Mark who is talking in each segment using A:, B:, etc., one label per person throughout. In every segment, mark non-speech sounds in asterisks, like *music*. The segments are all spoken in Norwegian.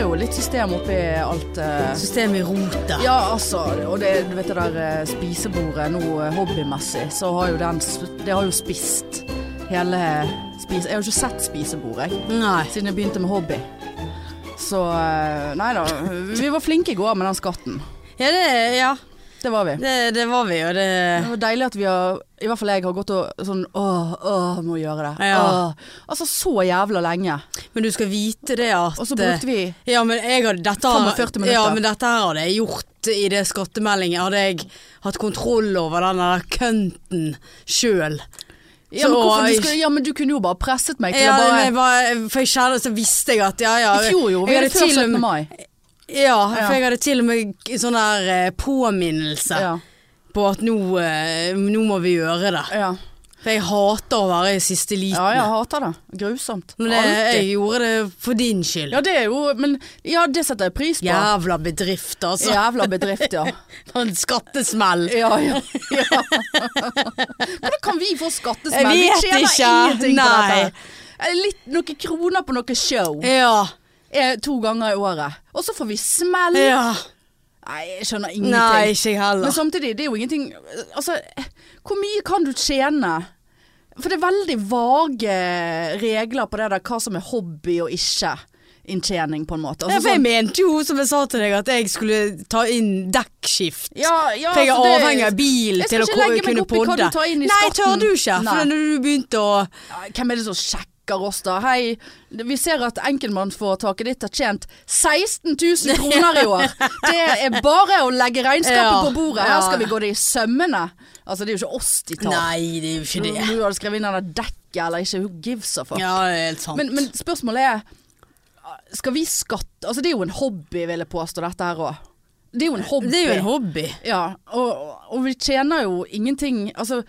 A: jo litt system oppi alt. eh,
B: Systemet i rota.
A: Ja, altså, og det, du vet det der eh, spisebordet nå eh, hobbymessig, så har jo den s- Det har jo spist hele spise... Jeg har jo ikke sett spisebordet, jeg.
B: Nei.
A: Siden jeg begynte med hobby. Så eh, Nei da. Vi var flinke i går med den skatten.
B: Ja, det, ja.
A: Det var vi.
B: det, det var vi, og det
A: Det var deilig at vi har I hvert fall jeg har gått og sånn Åh, åh, må gjøre det.
B: Ja.
A: Åh. Altså så jævla lenge.
B: Men du skal vite det at eh,
A: Og så brukte vi
B: Ja, men jeg hadde dette har-
A: 45 minutter.
B: Ja, men dette her hadde jeg gjort i det skattemeldingen. Hadde jeg hatt kontroll over den der kønten sjøl.
A: ja men,
B: Så-
A: hvorfor, du skulle, ja, men du kunne jo bare presset meg til
B: Ja,
A: å
B: men
A: bare
B: jeg bare- for jeg kjenner, så visste jeg at ja, ja.
A: I fjor gjorde vi
B: jeg
A: det
B: hadde
A: før
B: til og
A: 17.
B: med-
A: mai.
B: Ja,
A: Ja.
B: for jeg hadde til og med g- sånn der eh, påminnelse
A: Ja.
B: på at nå, eh, nå må vi gjøre det.
A: ja.
B: For jeg hater å være i siste liten.
A: Ja, jeg hater det. Grusomt.
B: Men det, jeg
A: Alltid.
B: gjorde det for din skyld.
A: Ja, det er jo Men ja, det setter jeg pris på.
B: Jævla bedrift, altså.
A: Jævla bedrift,
B: *laughs*
A: ja.
B: En skattesmell.
A: Ja, ja. ja. Hvordan kan vi få skattesmell?
B: Jeg vet
A: vi tjener
B: ikke.
A: ingenting på
B: Nei.
A: dette. Eh, Litt, noen kroner på noe show
B: Ja.
A: eh, to ganger i året. Og så får vi smell.
B: ja.
A: Nei, jeg skjønner
B: Nei,
A: ingenting.
B: ikke jeg heller.
A: Men samtidig, det er jo ingenting Altså, hvor mye kan du tjene? For det er veldig vage regler på det der hva som er hobby og ikke inntjening, på en måte.
B: ja,
A: Altså,
B: for jeg
A: sånn-
B: mente jo, som jeg sa til deg, at jeg skulle ta inn dekkskift.
A: Ja, ja,
B: for jeg er
A: altså, det-
B: avhengig av bil
A: Jeg skal
B: til å
A: ikke
B: ko-
A: legge meg
B: kunne
A: opp i hva
B: podde.
A: du tar inn i
B: Nei,
A: skatten.
B: tør du ikke.
A: Nei.
B: For når du begynte å
A: Ja, Hvem er det som sjekker oss da? Hei, vi ser at enkeltmannsforetaket ditt har tjent 16 000 kroner i
B: *laughs*
A: år. Det er bare å legge regnskapet
B: Ja,
A: på bordet. Her
B: ja.
A: skal vi gå det i sømmene. Altså, det er jo ikke oss de tar.
B: Nei, det er jo ikke
A: Du,
B: det.
A: du hadde skrevet inn den der dekket eller ikke, who gives a fuck.
B: Ja, det er helt sant.
A: Men, men spørsmålet er Skal vi skatte Altså det er jo en hobby, vil jeg påstå, dette her òg. Det er jo en hobby.
B: det er jo en hobby.
A: Ja, og, og vi tjener jo ingenting Altså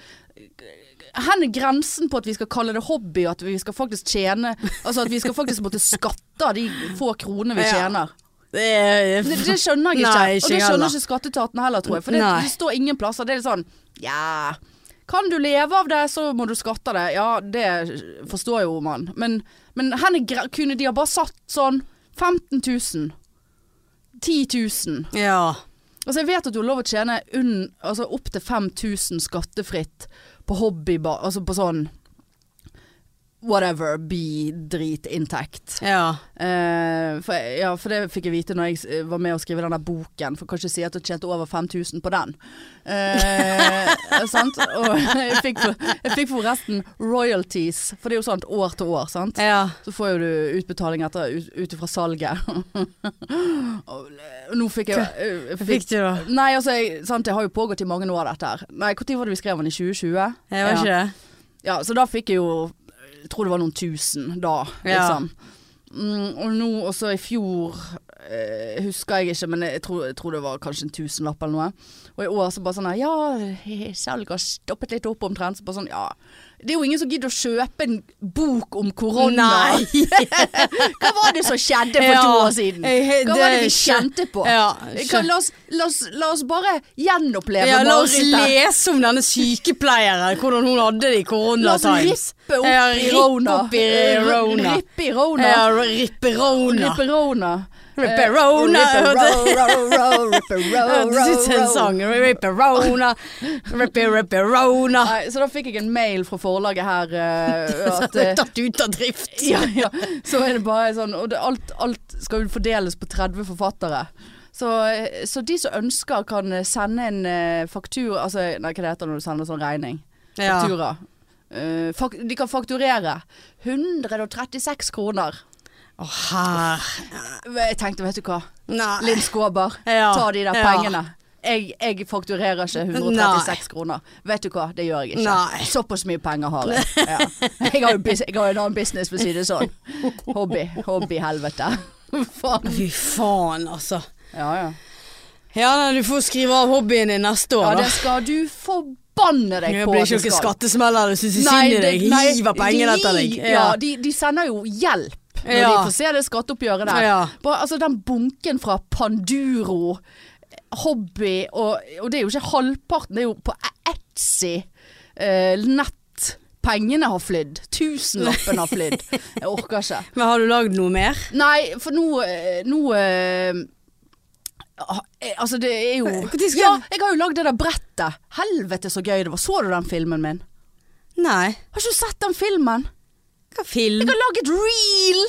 A: hvor er grensen på at vi skal kalle det hobby, og at vi skal faktisk tjene Altså at vi skal faktisk måtte skatte av de få kronene vi
B: Ja.
A: tjener.
B: Det er,
A: Det, det skjønner jeg ikke.
B: Nei, ikke
A: og det
B: jeg heller.
A: skjønner ikke skatteetaten heller, tror jeg. For det,
B: Nei.
A: det står ingen plasser. Det er litt sånn Ja, kan du leve av det, så må du skatte av det. Ja, det forstår jo man. Men, men hvor er gre- kunne de ha bare satt sånn 15 000? 10 000?
B: Ja.
A: Altså, jeg vet at du har lov å tjene unn, altså, opp til 5000 skattefritt på hobbybar, altså på sånn whatever, bi-dritinntekt.
B: ja.
A: Eh, for, ja, for det fikk jeg vite når jeg s- var med å skrive den der boken, for kanskje si at jeg tjente over 5000 på den. Eh, *laughs* sant? Og jeg fikk, for- jeg fikk forresten royalties, for det er jo sånt år til år, sant?
B: Ja.
A: Så får jo du utbetaling etter, ut, ut ifra salget. *laughs* og eh, nå fikk jeg, jeg fikk
B: Fikk du da?
A: Nei, altså, jeg, sant, det har jo pågått i mange år dette her. Nei, når var det vi skrev den? I 2020?
B: Jeg var
A: ja.
B: ikke det.
A: ja, så da fikk jeg jo Jeg tror det var noen tusen da,
B: Ja.
A: liksom. Mm, og nå, også i fjor eh, Husker jeg ikke, men jeg tror, jeg tror det var kanskje en tusenlapp eller noe. Og i år så bare sånn her Ja, *laughs* salget har stoppet litt opp omtrent. Så bare sånn, ja. Det er jo ingen som gidder å kjøpe en bok om korona. *laughs* Hva var det som skjedde for
B: Ja.
A: to år siden?
B: Jeg-
A: Hva var det vi
B: skjø-
A: kjente på?
B: Ja,
A: Kan, la, oss, la, oss, la oss bare gjenoppleve
B: Ja, la oss
A: marerittet.
B: lese om denne sykepleieren, hvordan hun hadde det i
A: La
B: Corona
A: oss
B: Times.
A: rippe opp
B: Ja,
A: i
B: ripp
A: Rona.
B: opp i Rona.
A: Rippe i Rona.
B: Ja, Ripperona.
A: Rippe Rona. Eh,
B: Rippe Rona.
A: *laughs*
B: Du syns en
A: Ripperona.
B: sang. Ripperona, Ripper, Ripperona. *laughs*
A: Så da fikk jeg en mail fra forlaget her eh, at eh,
B: Tatt ut av drift.
A: ja, ja. Så er det bare sånn Og det, alt, alt skal jo fordeles på 30 forfattere. Så, eh, så de som ønsker kan sende en eh, faktur Altså, nei, hva det heter når du sender sånn regning?
B: Ja.
A: Faktura. Eh, fak de kan fakturere 136 kroner.
B: Å, her.
A: Jeg tenkte, vet du hva.
B: Nei.
A: Linn Skåber,
B: Ja,
A: ta de der
B: ja.
A: pengene. Jeg, jeg fakturerer ikke 136 kroner. Vet du hva, det gjør jeg ikke.
B: Nei.
A: Såpass mye penger har jeg. Ja. Jeg har jo bus- jeg har jo en annen business, for å si det sånn. Hobby. Hobbyhelvete. Faen.
B: Fy faen, altså.
A: Ja, ja.
B: Ja, nei, du får skrive av hobbyen din neste
A: ja,
B: år, da.
A: det skal du forbanne deg
B: Det
A: på.
B: blir
A: at du
B: ikke noen
A: skal.
B: skattesmeller, du syns synd i
A: det-
B: deg.
A: nei,
B: Hiver pengene
A: de-
B: etter deg.
A: Ja, de, de sender jo hjelp. Når
B: Ja.
A: de får se det skatteoppgjøret der.
B: Ja.
A: Bare, altså, den bunken fra Panduro, Hobby og, og det er jo ikke halvparten, det er jo på Etsy, eh, nett Pengene har flydd. Tusenlappen har
B: *laughs*
A: flydd. Jeg orker ikke.
B: Men har du lagd noe mer?
A: Nei, for nå, eh, nå eh, ah, eh, Altså, det er jo
B: Hvor tid skal
A: Ja,
B: jeg-
A: jeg har jo lagd det der brettet. Helvete så gøy det var. Så du den filmen min?
B: Nei.
A: Har ikke du sett den filmen?
B: Hva film?
A: Jeg har laget reel!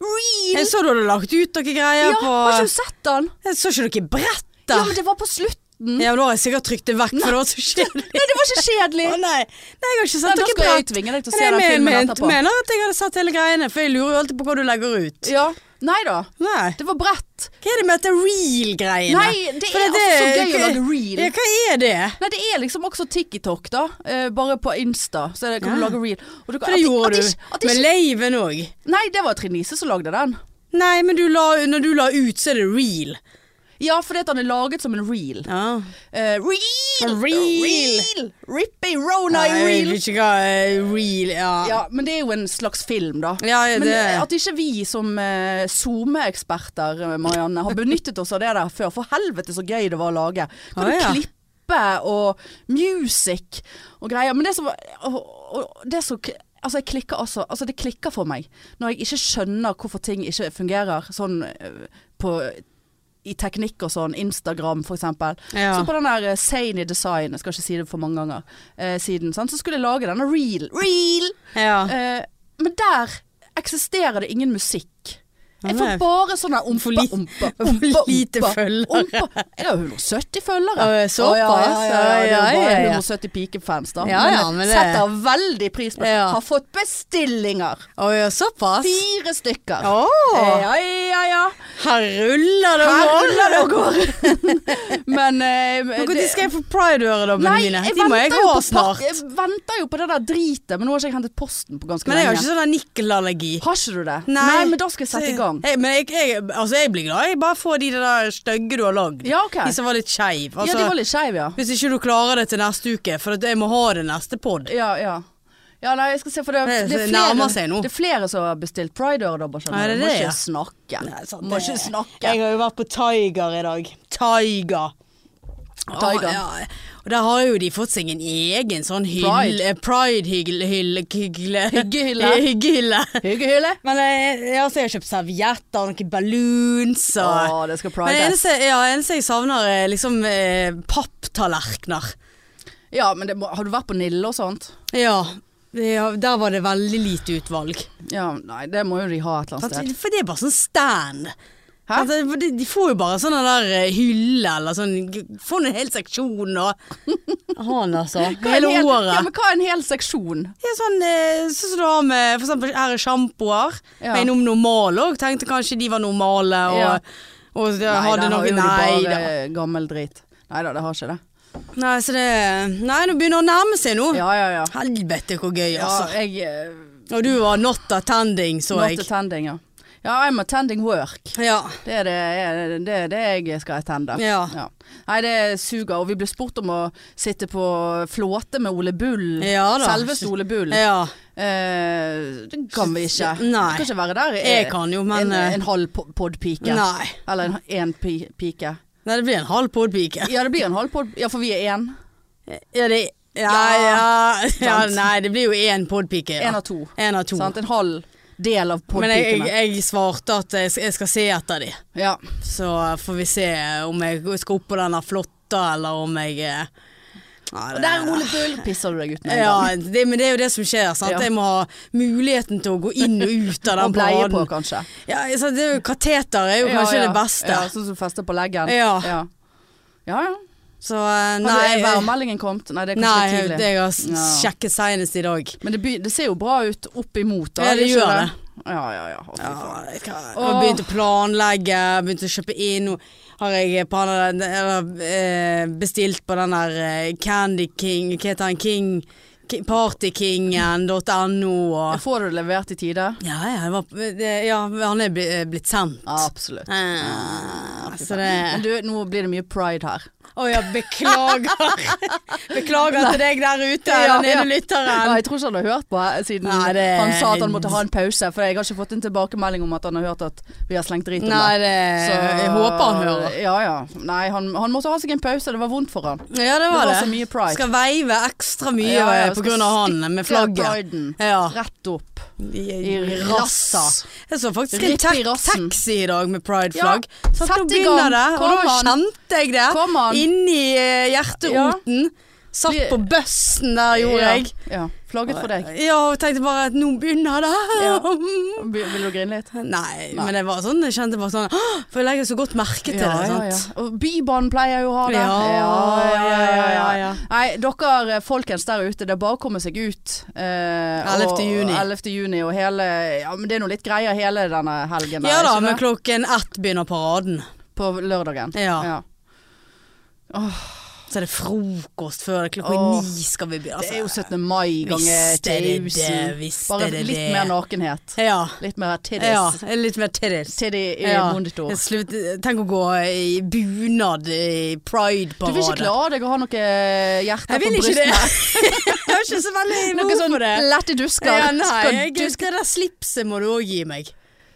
A: Reel!
B: Jeg så du hadde lagt ut noen greier
A: Ja,
B: på
A: har ikke du sett den?
B: Jeg så ikke noe brett
A: Ja,
B: der.
A: men det var på slutten.
B: Ja, men da har jeg sikkert trykt det vekk, for det var så kjedelig.
A: *laughs* Nei, det var ikke kjedelig.
B: Å nei. nei, jeg har
A: Nei,
B: ikke sett
A: da
B: noe
A: skal jeg
B: brett.
A: tvinge deg til å se
B: Jeg
A: den
B: men,
A: filmen
B: men,
A: etterpå.
B: mener at jeg hadde sett hele greiene, for jeg lurer jo alltid på hva du legger ut.
A: Ja. Nei da.
B: Nei.
A: Det var brett.
B: Hva er det med dette real-greiene?
A: Nei, det
B: For
A: er altså så gøy å lage reel.
B: Ja, hva er det?
A: Nei, det er liksom også TikTok, da. Eh, bare på Insta. Så er det, kan du
B: Ja.
A: lage reel. Og du kan-
B: For
A: at-
B: det
A: at
B: gjorde
A: ikke-
B: du.
A: at ikke-
B: Med laven òg.
A: Nei, det var Trinise som lagde den.
B: Nei, men du la, når du la ut, så er det real.
A: Ja, fordi at den er laget som en reel.
B: Ja.
A: Eh, reel!
B: En reel!
A: reel! Rippy Rona i
B: Nei, jeg
A: reel!
B: vet ikke hva eh, real Ja,
A: Ja, men det er jo en slags film, da.
B: ja
A: Men
B: det
A: eh, at ikke vi som eh, SoMe-eksperter, eh, Marianne, har benyttet oss av det der før. For helvete så gøy det var å lage. Kan
B: Ah,
A: du
B: ja.
A: klippe og music og greier. Men det som og, og, det som Altså, jeg klikker altså, altså det klikker for meg når jeg ikke skjønner hvorfor ting ikke fungerer sånn eh, på i teknikk og sånn, Instagram for eksempel.
B: Ja.
A: Så på den der eh, Zany Design, jeg skal ikke si det for mange ganger, eh, siden, sant? så skulle jeg lage denne reel, reel,
B: ja.
A: Eh, men der eksisterer det ingen musikk. Jeg
B: Nei.
A: får bare sånne
B: For
A: ompa,
B: lite-
A: ompa,
B: *laughs* for
A: ompa,
B: lite
A: ompa,
B: følgere.
A: ompa. Jeg har 170 følgere.
B: Å, såpass?
A: Å, ja, ja, ja, det er jo
B: Ja, ja,
A: bare
B: ja.
A: 170 pikefans, da.
B: Ja, ja, men
A: men
B: det-
A: jeg setter veldig pris på det.
B: Ja.
A: Har fått bestillinger.
B: Å ja, såpass?
A: Fire stykker.
B: Å!
A: Eh, Ja, ja, ja.
B: Her ruller det
A: Her
B: og går.
A: ruller det og går. *laughs* men eh,
B: Når
A: det-
B: skal jeg få pride-ører, da,
A: Nei,
B: Benjamin?
A: jeg
B: De må jeg
A: venter jo
B: ha
A: på pak-
B: snart.
A: Jeg venter jo på det der dritet, men nå har ikke jeg hentet posten på ganske
B: Men
A: lenge.
B: jeg har ikke sånn nikkelallergi.
A: Har ikke du det? men da skal jeg sette i gang.
B: Jeg, men jeg, jeg, altså jeg blir glad. Jeg bare får de der stygge du har lagd.
A: Ja, ok.
B: De som var litt skeiv. Altså,
A: ja, de var litt skeive, ja.
B: Hvis ikke du klarer det til neste uke, for at jeg må ha det neste pod.
A: Ja, ja. Ja, nei, jeg skal se, for det, det,
B: Det-
A: er
B: det
A: flere,
B: nærmer seg nå.
A: det er flere som har bestilt pride-øredobber, skjønner
B: Ja,
A: du.
B: det er
A: Må
B: det, ja.
A: ikke snakke.
B: sant,
A: Må
B: det-
A: ikke snakke.
B: Jeg har jo vært på Tiger i dag. Tiger.
A: Tiger.
B: Ja, ja. Og der har jo de fått seg en egen sånn
A: Pride.
B: hylle Pride-hylle *laughs* Hyggehylle.
A: Hyggehylle.
B: Hyggehylle.
A: Hyggehylle.
B: Men eh, ja, så jeg har kjøpt servietter og noen balloons
A: Å,
B: og
A: det skal
B: Men det
A: pride.
B: eneste, ja, eneste jeg savner er liksom eh, papptallerkener.
A: Ja, men det, må- har du vært på Nille og sånt?
B: Ja, ja, der var det veldig lite utvalg.
A: Ja, nei, det må jo de ha et eller
B: For
A: annet sted.
B: det er bare sånn stand.
A: Hæ?
B: Altså, for de, de får jo bare sånne der eh, hylle eller sånn Får en hel seksjon og
A: *laughs*
B: Han
A: Hva
B: altså.
A: er en
B: Hele
A: hel- Ja,
B: året.
A: men hva er en hel seksjon?
B: Det er sånn eh, sånn som du har med for eksempel her er sjampoer.
A: Ja.
B: Men om normale òg. Tenkte kanskje de var normale og,
A: Ja.
B: og, det hadde
A: der
B: noe
A: har jo
B: Nei
A: de
B: da.
A: bare gammel drit. Nei da, det har ikke det.
B: Nei, så det Nei, nå begynner det å nærme seg nå.
A: Ja, ja, ja.
B: Helvete hvor gøy,
A: ja
B: altså.
A: jeg, eh,
B: Og du var not attending, så
A: not
B: jeg.
A: attending, ja. Ja, I'm attending work.
B: Ja.
A: Det er det, det, er det jeg skal attende.
B: Ja.
A: Nei, det suger. Og vi ble spurt om å sitte på flåte med Ole Bull.
B: Ja da.
A: Selveste Ole Bull.
B: ja.
A: Eh, det kan vi ikke.
B: Nei.
A: Vi kan ikke være der i-
B: Jeg kan jo, men
A: en,
B: eh,
A: en halv po- podpike.
B: Nei.
A: Eller en, en pi, pike.
B: Nei, det blir en halv podpike.
A: Ja, det blir en halv pod... Ja, for vi er én.
B: Ja, det ja,
A: Ja,
B: ja. ja,
A: sant.
B: nei, det blir jo én podpike.
A: Én
B: Ja.
A: av to.
B: En av to.
A: Sant? En halv del av
B: Men jeg,
A: podpikene.
B: jeg, jeg svarte at jeg skal- jeg skal se etter de.
A: Ja.
B: Så får vi se om jeg skal opp på denne flotta, eller om jeg eh, nei,
A: Og
B: det-
A: der, Ole Bull, pisser du deg ut med en gang.
B: Ja, det, men det er jo det som skjer. sant?
A: Ja.
B: Jeg må ha muligheten til å gå inn og ut
A: *laughs*
B: av
A: Og
B: den
A: bleie på,
B: bladen.
A: kanskje.
B: Ja, så det er jo, kateter er jo
A: Ja,
B: kanskje
A: ja.
B: det beste.
A: Ja, sånn som du fester på leggen.
B: Ja.
A: ja. ja, ja.
B: Så eh,
A: Nei,
B: nei,
A: er værmeldingen kommet? Nei, det er kanskje
B: nei
A: litt tidlig.
B: det jeg har s-
A: Ja.
B: sjekket senest i dag.
A: Men det, by- det ser jo bra ut opp imot. Da.
B: Ja, det
A: er ikke
B: gjør
A: Ja, ja, ja. Å, fy faen.
B: Ja, jeg har
A: Åh.
B: begynt å planlegge, begynt å kjøpe inn. Nå har jeg på den der- eller, eh, bestilt på den der eh, Candy King, hva heter den, King, Ki- partykingen.no og
A: Får du det levert i tide?
B: ja, ja, det var, det, ja, han er bli- eh, blitt sendt.
A: Absolutt.
B: Eh, så det
A: Men du, nå blir det mye pride her.
B: Å ja, beklager. *laughs* Beklager til deg der ute,
A: Ja,
B: den ene
A: ja. Ja,
B: lytteren.
A: jeg tror ikke han har hørt på her siden
B: Nei, det-
A: han sa at han måtte ha en pause. For jeg har ikke fått en tilbakemelding om at han har hørt at vi har slengt drit om
B: Nei,
A: det.
B: det, jeg håper han hører.
A: Ja, ja. Nei, han, han måtte ha seg en pause. Det var vondt for han.
B: Ja, det
A: Det
B: var
A: var
B: det.
A: så mye pride.
B: Skal veive ekstra mye eh,
A: Ja, ja,
B: på
A: skal
B: grunn av han med
A: stikke
B: flagget.
A: priden
B: Ja.
A: Rett opp.
B: I
A: rassa.
B: Jeg så faktisk en
A: Ripp i
B: tek-
A: rassen.
B: taxi i dag med prideflagg.
A: Ja,
B: Så
A: sett
B: nå
A: i
B: begynner
A: gang.
B: det, og
A: Kom
B: da
A: an.
B: kjente jeg det.
A: Kom an.
B: Inni eh, hjerteroten. Satt
A: Vi-
B: på bøssen der, gjorde jeg.
A: Ja. ja. Flagget for deg.
B: Ja, og tenkte bare at nå begynner det.
A: Ja. Be- Vil du grine litt?
B: *laughs* Nei, men det var sånn, jeg kjente bare sånn «Åh, For jeg legger så godt merke til det.
A: ja,
B: Sant?
A: ja. Og Bybanen pleier jo å ha det.
B: Ja, ja, ja, ja.
A: Nei, dere eh, folkens der ute, det er bare å komme seg ut. Eh,
B: 11.
A: og-
B: juni.
A: 11. juni og hele Ja, men det er nå litt greier hele denne helgen. der,
B: Ja da,
A: ikke
B: men
A: det?
B: klokken ett begynner paraden.
A: På lørdagen.
B: Ja.
A: Ja.
B: Så er det frokost før det. Klokken
A: Åh.
B: ni skal vi begynne.
A: Det er jo 17. mai ganger
B: Visste det det,
A: 1000.
B: visste
A: Bare
B: det
A: litt
B: det.
A: mer nakenhet.
B: Ja.
A: Litt mer titties.
B: ja. Litt mer titties.
A: Titty i
B: Ja.
A: monitor.
B: Jeg Eh, Slutt, tenk å gå i bunad i
A: Du
B: prideparade.
A: vil ikke klare deg å ha noe eh, hjerte
B: Jeg
A: på
B: vil ikke det.
A: brystet?
B: jeg har ikke så veldig
A: Noe
B: behov
A: sånn *laughs*
B: for det.
A: lette dusker.
B: Ja, nei,
A: Skal
B: jeg,
A: du-
B: det der slipset må du òg gi meg.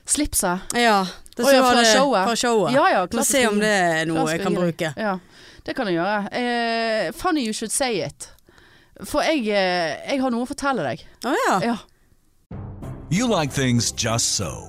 A: Slipset.
B: Ja.
A: Å ja, fra showet.
B: Fra showet.
A: Ja, ja, klart
B: Må
A: du
B: se
A: skal
B: om
A: gi-
B: det er noe
A: klart
B: jeg
A: skal
B: kan
A: gi deg.
B: bruke.
A: Ja, det kan jeg gjøre. Eh, funny you should say it. For jeg, eh, jeg har noe å fortelle deg.
B: Å ja.
A: Ja.
C: You like things just so.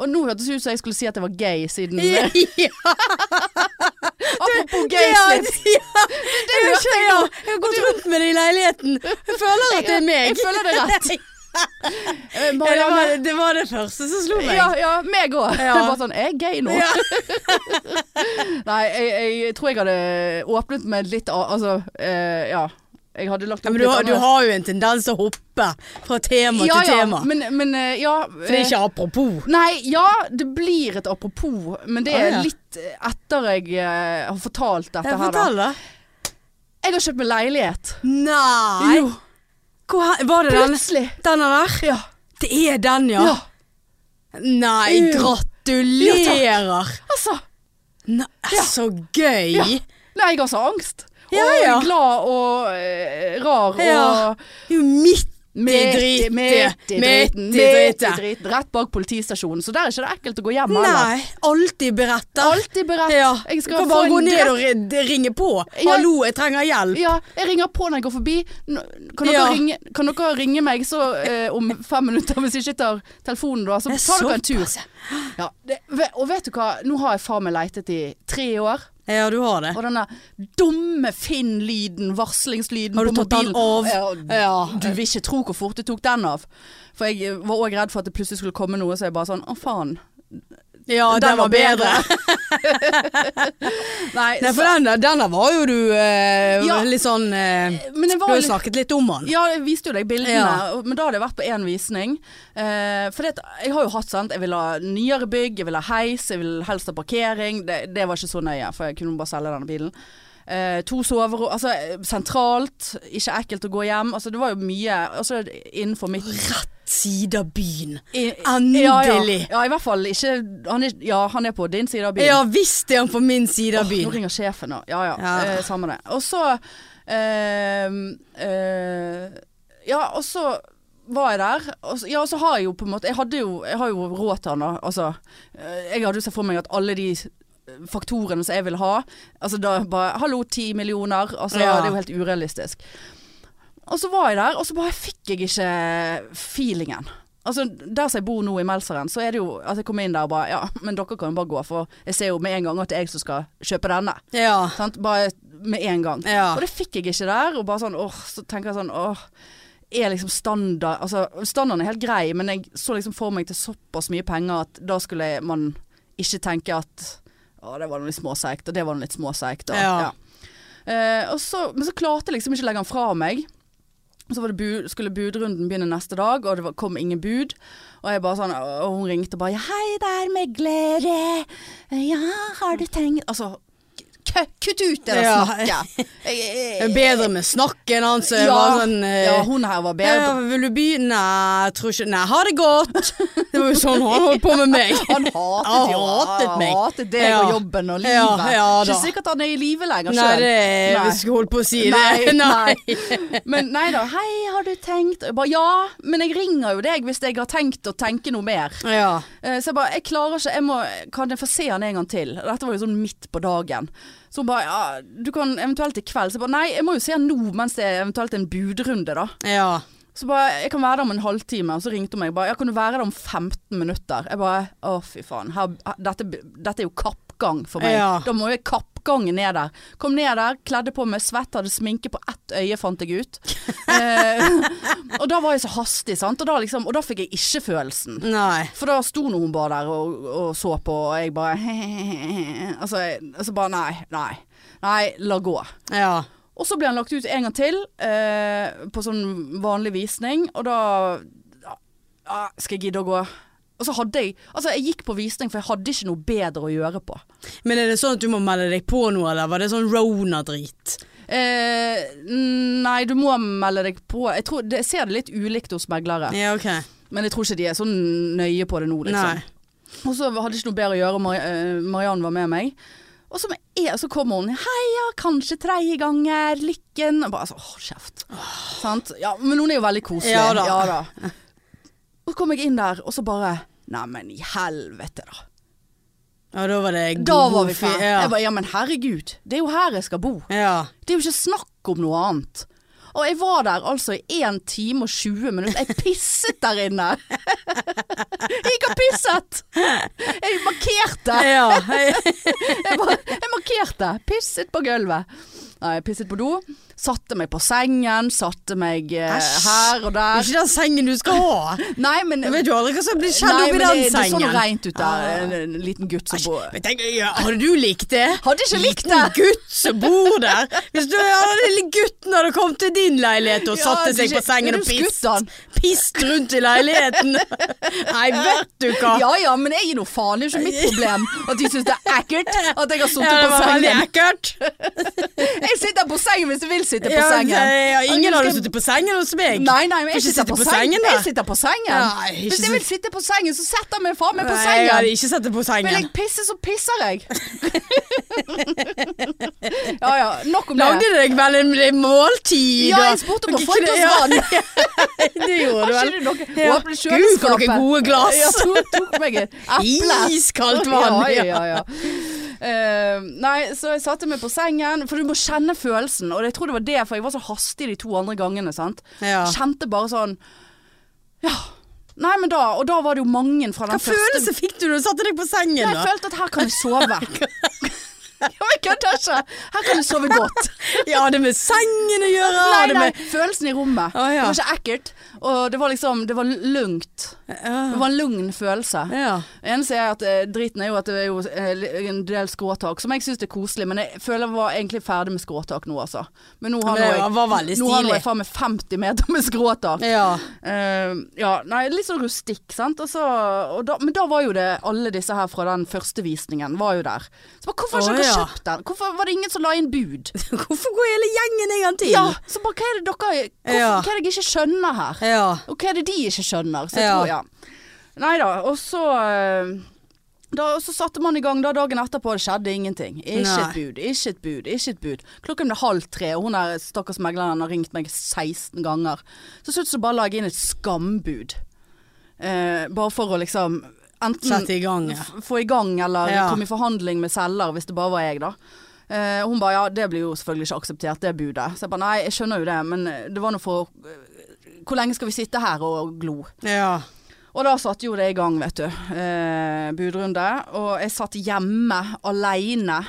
A: Og nå hørtes det ut som jeg skulle si at jeg var gay, siden
B: *laughs*
A: eh,
B: Ja.
A: Apropos
B: Ja, ja.
A: gay-slips.
B: Det er jo ikke jeg. da. Jeg har gått rundt med det i leiligheten. Jeg føler at det er meg.
A: Jeg føler det er rett.
B: *laughs*
A: Eh,
B: Ja, det, var,
A: Marianne.
B: det var det første som slo meg.
A: Ja, ja, meg òg.
B: Ja.
A: Bare sånn, jeg er gay nå.
B: Ja.
A: Nei, jeg, jeg tror jeg hadde åpnet med litt av Altså, eh, ja. Jeg hadde lagt
B: Ja,
A: opp
B: men du, har-
A: litt
B: du
A: annerledes.
B: har jo en tendens til å hoppe fra tema
A: ja,
B: til tema.
A: Ja, men, men eh, ja
B: For det er
A: eh,
B: ikke apropos.
A: Nei, ja, det blir et apropos, men det
B: Å,
A: er
B: ja.
A: litt eh, etter jeg eh, har fortalt dette
B: Jeg
A: her, da.
B: fortell da.
A: Jeg har kjøpt meg leilighet.
B: Nei!
A: Jo,
B: Hvor, he- var det den?
A: plutselig.
B: Denne der?
A: Ja.
B: Det er den, ja.
A: ja.
B: Nei,
A: Jo.
B: gratulerer!
A: Altså.
B: Nei, Så gøy!
A: Nei, jeg har så angst. Og
B: Ja, ja.
A: glad og eh, rar og
B: Ja. Det er jo midt i
A: Midt i
B: driten.
A: midt i driten.
B: Midt i driten.
A: driten. Rett bak politistasjonen, så der er ikke det ekkelt å gå hjem heller.
B: Nei, alltid beretter.
A: Alltid beredt.
B: Ja.
A: Jeg
B: du
A: skal
B: kan
A: få
B: bare gå
A: en
B: ned
A: direkte
B: og ri- ringe på.
A: Ja.
B: Hallo, jeg trenger hjelp.
A: Ja, jeg ringer på når jeg går forbi. Nå- Kan dere,
B: Ja.
A: ringe, kan dere ringe meg så eh, om fem minutter hvis jeg ikke tar telefonen da? Så
B: Det er
A: tar dere en
B: såpass,
A: tur. Ja, det, ve- og vet du hva? Nå har jeg faen meg leitet i tre år.
B: Ja, du har det.
A: Og denne dumme Finn-lyden, varslingslyden
B: Har du
A: på
B: tatt den
A: mobilen.
B: av? Ja.
A: Ja, du vil ikke tro hvor fort jeg tok den av. For jeg eh, var òg redd for at det plutselig skulle komme noe, så jeg bare sånn Å, faen.
B: Ja, den, var bedre.
A: *laughs* Nei,
B: Nei, for
A: så,
B: den der, den der var jo du eh,
A: Ja.
B: litt sånn eh,
A: men det
B: Du
A: var
B: har
A: jo
B: jo
A: litt
B: snakket litt om han.
A: Ja, jeg viste jo deg bildene,
B: Ja.
A: og- men da hadde jeg vært på én visning. Eh, for det, at jeg har jo hatt sant, jeg vil ha nyere bygg, jeg vil ha heis, jeg vil helst ha parkering. Det, det var ikke så nøye, for jeg kunne bare selge denne bilen. Eh, to soverom, altså eh, sentralt, ikke ekkelt å gå hjem. Altså det var jo mye altså, innenfor mitt
B: Rett side av byen.
A: I-
B: Endelig.
A: Ja, ja. ja, i hvert fall ikke han er, Ja, han er på din side av byen.
B: Ja visst er han på min side av
A: Åh, Nå
B: byen.
A: ringer sjefen, da. Ja ja,
B: Ja.
A: Eh, samme det. Og så ehm, eh, Ja, og så var jeg der. Og så, ja, og så har jeg jo på en måte Jeg, hadde jo, jeg har jo råd til han, da. Altså, eh, jeg hadde jo sett for meg at alle de eh, faktorene som jeg vil ha Altså da bare Hallo, ti millioner. Altså,
B: Ja.
A: Det er jo helt urealistisk. Og så var jeg der, og så bare fikk jeg ikke feelingen. Altså, Der som jeg bor nå i Melseren, så er det jo at jeg kom inn der og bare Ja, men dere kan jo bare gå, for jeg ser jo med en gang at det er jeg som skal kjøpe denne.
B: Ja.
A: Sant? Bare med en gang.
B: Ja.
A: Og det fikk jeg ikke der. Og bare sånn, åh, så tenker jeg sånn, åh er liksom standard Altså, standarden er helt grei, men jeg så liksom for meg til såpass mye penger at da skulle man ikke tenke at Å, det var noe litt småseigt, og det var noe litt småseigt. og-
B: Ja.
A: Ja. Eh, og så, men så klarte jeg liksom ikke å legge den fra meg. Så var det bu skulle budrunden begynne neste dag, og det var, kom ingen bud. Og jeg bare sånn, og hun ringte bare ja, 'Hei der, meglere. Ja, har du tenkt Altså, k kutt ut det der
B: Ja. *laughs*
A: snakket! Jeg- jeg-
B: Det er Bedre med snakk enn han som var
A: ja,
B: sånn eh,
A: ja, hun her var
B: ja,
A: bedre.
B: Vil du begynne? Nei, jeg tror ikke Nei, ha det godt!
A: *laughs*
B: Det var jo sånn han holdt på med meg.
A: Han hatet
B: *laughs* Han
A: jo
B: hatet meg.
A: hatet deg og
B: Ja.
A: jobben og livet.
B: Ja, ja
A: ikke
B: da.
A: sikkert han er i live lenger
B: Nei,
A: sjøl.
B: det
A: Nei.
B: Vi skulle holdt på å si
A: Nei,
B: det.
A: nei.
B: *laughs* nei.
A: Men nei da. Hei, har du tenkt Jeg bare ja, men jeg ringer jo deg hvis jeg har tenkt å tenke noe mer.
B: Ja.
A: Eh, Så jeg bare Jeg klarer ikke. Jeg må, kan jeg få se han en gang til? Dette var jo sånn midt på dagen. Så hun bare ja, du kan eventuelt i kveld. Så jeg bare nei, jeg må jo se han nå mens det er eventuelt en budrunde, da.
B: Ja.
A: Så bare, jeg kan være der om en halvtime, og så ringte hun meg bare, jeg kan du være der om 15 minutter? Jeg bare, å fy faen, her, dette, dette er jo kappgang for meg.
B: Ja.
A: Da må jeg kappgangen ned der. Kom ned der, kledde på meg svett, hadde sminke på ett øye, fant jeg ut. eh, *laughs* og da var jeg så hastig, sant? Og da, liksom, og da fikk jeg ikke følelsen.
B: Nei.
A: For da sto nå hun bare der og, og så på, og jeg bare, *laughs* altså, jeg, altså bare, nei, nei, nei, la gå.
B: Ja.
A: Og så ble han lagt ut en gang til eh, på sånn vanlig visning, og da ja, Skal jeg gidde å gå? Og så hadde jeg Altså, jeg gikk på visning, for jeg hadde ikke noe bedre å gjøre på.
B: Men er det sånn at du må melde deg på noe, eller var det sånn Rona-drit?
A: Eh, nei, du må melde deg på. Jeg, tror, det, jeg ser det litt ulikt hos meglere,
B: Ja, OK.
A: men jeg tror ikke de er så nøye på det nå, liksom.
B: Nei.
A: Og så hadde jeg ikke noe bedre å gjøre, Mar eh, Mariann var med meg. Og så, med en- så kommer hun 'Heia, kanskje tredje ganger, lykken' Og bare sånn, åh, kjeft. Sant? Ja, men hun er jo veldig koselig.
B: Ja da.
A: Og så kom jeg inn der, og så bare Neimen, i helvete, da.
B: Ja, da var det
A: Da var vi
B: fi-
A: ferdig.
B: Ja.
A: Jeg bare, ja, men herregud, det er jo her jeg skal bo.
B: ja.
A: Det er jo ikke snakk om noe annet. Og jeg var der altså i 1 time og 20 minutter. Jeg pisset der inne! *laughs* Jeg gikk og pisset! Jeg markerte!
B: Ja.
A: *laughs* jeg, bare, jeg markerte. Pisset på gulvet. Nei, jeg pisset på do. Satte meg på sengen, satte meg eh,
B: Æsj.
A: her og
B: Det er
A: der.
B: Ikke den sengen du skal ha.
A: Nei, men
B: Du vet jo aldri hva som blir skjedd
A: Nei,
B: oppi
A: men
B: den
A: det, det så
B: sengen. Ah.
A: noe reint ut der. En, en liten gutt som bor
B: Men tenk, ja, hadde du likt det?
A: Hadde ikke likt
B: Liten gutt som bor der. Hvis du ja, den lille gutten hadde kommet til din leilighet og
A: Ja,
B: satte
A: du
B: seg på
A: ikke-
B: sengen
A: du
B: og
A: skutt
B: pist,
A: han.
B: pist rundt i leiligheten. Nei, vet du hva.
A: Ja ja, men jeg gir nå faen. Det er jo ikke mitt problem at de syns det er ekkelt at jeg har
B: Ja,
A: sittet
B: det
A: på
B: var veldig
A: sengen.
B: ekkelt.
A: Jeg sitter på sengen hvis jeg vil sitte på
B: Ja,
A: sengen.
B: ja, ingen
A: Og
B: hadde
A: skal-
B: sittet på sengen hos meg.
A: Nei, nei, men
B: Får
A: jeg
B: ikke
A: sitter
B: sitte
A: på sengen.
B: da.
A: Jeg sitter på sengen.
B: Nei, ikke
A: Hvis jeg
B: sitt-
A: vil sitte på sengen, så setter jeg meg faen meg på
B: Nei, jeg hadde
A: sengen.
B: ikke sittet på
A: Vil
B: sengen.
A: jeg pisse, så pisser jeg. *laughs* ja ja, nok om
B: Lagde
A: det.
B: du deg vel en en måltid?
A: Ja,
B: og-
A: jeg spurte om å få et glass
B: *laughs* Ja,
A: vann.
B: *laughs* Det gjorde
A: Har
B: du vel.
A: ikke du noe
B: Ja.
A: åpne
B: Gud, for
A: kjøleskapet?
B: noen gode glass.
A: Ja, to, tok meg
B: *laughs*
A: et eple.
B: Iskaldt vann,
A: Ja, ja, ja. Eh, nei, så jeg satte meg på sengen, for du må kjenne følelsen. Og jeg tror det var det, for jeg var så hastig de to andre gangene. Sant?
B: Ja.
A: Kjente bare sånn Ja. Nei, men da Og da var det jo mange fra den
B: Hva
A: første
B: følelse fikk du da du satte deg på sengen?
A: Jeg
B: da?
A: følte at her kan jeg sove.
B: *laughs*
A: ja, men jeg kødder ikke. Her kan jeg sove godt.
B: *laughs* Ja, det med sengen å gjøre.
A: Nei,
B: det
A: nei,
B: med...
A: følelsen i rommet.
B: Å, ja.
A: Det var ikke ekkelt. Og det var liksom Det var lugnt. Det var en lugn følelse.
B: Ja.
A: Det eneste er at eh, driten er jo at det er jo eh, li- en del skråtak, som jeg syns er koselig, men jeg føler jeg var egentlig ferdig med skråtak nå, altså. Men nå har
B: Men
A: nå
B: det
A: jeg,
B: var veldig
A: nå har nå
B: stilig.
A: jeg faen meg 50 meter med skråtak.
B: Ja.
A: Eh, ja, nei, litt sånn rustikk, sant. Og så, og da, men da var jo det alle disse her fra den første visningen var jo der. Så bare, hvorfor har
B: Å,
A: ikke dere
B: ja.
A: kjøpt den? Hvorfor var det ingen som la inn bud?
B: *laughs* Hvorfor går hele gjengen en gang til?
A: Ja, så bare hva er det dere hvorfor,
B: Ja.
A: Hva er det jeg ikke skjønner her?
B: Ja.
A: Og hva er det de ikke skjønner? Så jeg
B: Ja.
A: tror, ja. Nei da, og så eh, da, og så satte man i gang da dagen etterpå, det skjedde ingenting. Ikke
B: Nei.
A: et bud, ikke et bud, ikke et bud. Klokken ble halv tre, og hun der stakkars megleren har ringt meg 16 ganger. Så til slutt så bare la jeg inn et skambud. Eh, bare for å liksom enten
B: Sette i gang, ja.
A: f- få i gang, eller
B: Ja.
A: komme i forhandling med selger, hvis det bare var jeg, da. Eh, hun bare ja, det blir jo selvfølgelig ikke akseptert, det budet. Så jeg bare nei, jeg skjønner jo det, men det var nå for eh, Hvor lenge skal vi sitte her og glo?
B: Ja.
A: Og da satte jo det i gang, vet du. Eh, budrunde. Og jeg satt hjemme aleine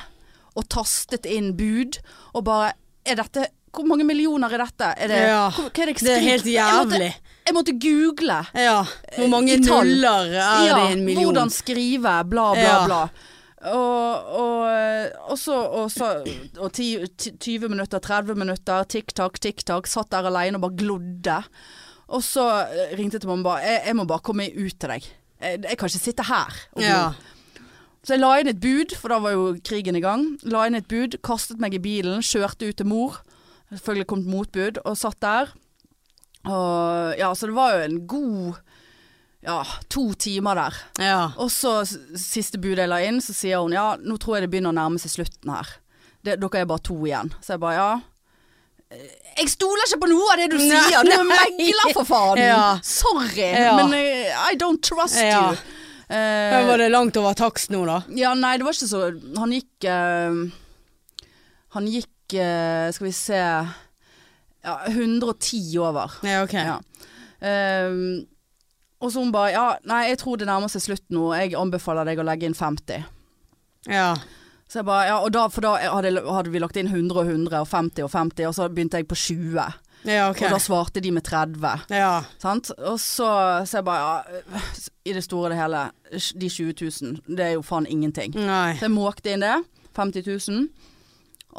A: og tastet inn bud, og bare Er dette Hvor mange millioner er dette? Er det,
B: Ja.
A: hvor, hva er det jeg
B: Det er
A: skriver?
B: helt
A: Jeg
B: jævlig.
A: måtte, jeg måtte google.
B: Ja. Hvor mange
A: I tall.
B: nuller er det i en million?
A: Hvordan skrive, bla, bla,
B: Ja.
A: bla. Og, og, og så, og, så og ti, ti- 20 minutter, 30 minutter, tikk-takk, tikk-takk. Satt der alene og bare glodde. Og så eh, ringte jeg til mamma og bare jeg, jeg må bare komme ut til deg. Jeg, jeg kan ikke sitte her. Og glo.
B: Ja.
A: Så jeg la inn et bud, for da var jo krigen i gang. La inn et bud, kastet meg i bilen, kjørte ut til mor. Selvfølgelig kom det motbud, og satt der. Og ja, så det var jo en god ja, to timer der.
B: ja.
A: Og så s- siste bud jeg la inn, så sier hun ja, nå tror jeg det begynner å nærme seg slutten her. Det, dere er bare to igjen. Så jeg bare ja. Eh, Jeg stoler ikke på noe av det du
B: Nei,
A: sier! Du er
B: nei.
A: megler, for faen!
B: Ja.
A: Sorry,
B: Ja.
A: men eh, I don't trust
B: Ja.
A: you. Eh,
B: Men var det langt over takst nå, da?
A: ja, nei, det var ikke så Han gikk eh, Han gikk, eh, skal vi se ja, 110 over.
B: Ja, ok.
A: Ja. Ehm, og så hun bare Ja, nei, jeg tror det nærmer seg slutt nå. Jeg anbefaler deg å legge inn 50.
B: Ja.
A: Så jeg bare, ja, og da, For da hadde, hadde vi lagt inn 100 og 100 og 50 og 50, og så begynte jeg på 20.
B: Ja, ok.
A: Og da svarte de med 30.
B: Ja.
A: Sant? Og så så jeg bare ja, øh, I det store og det hele, de 20 000, det er jo faen ingenting.
B: Nei.
A: Så jeg måkte inn det. 50 000.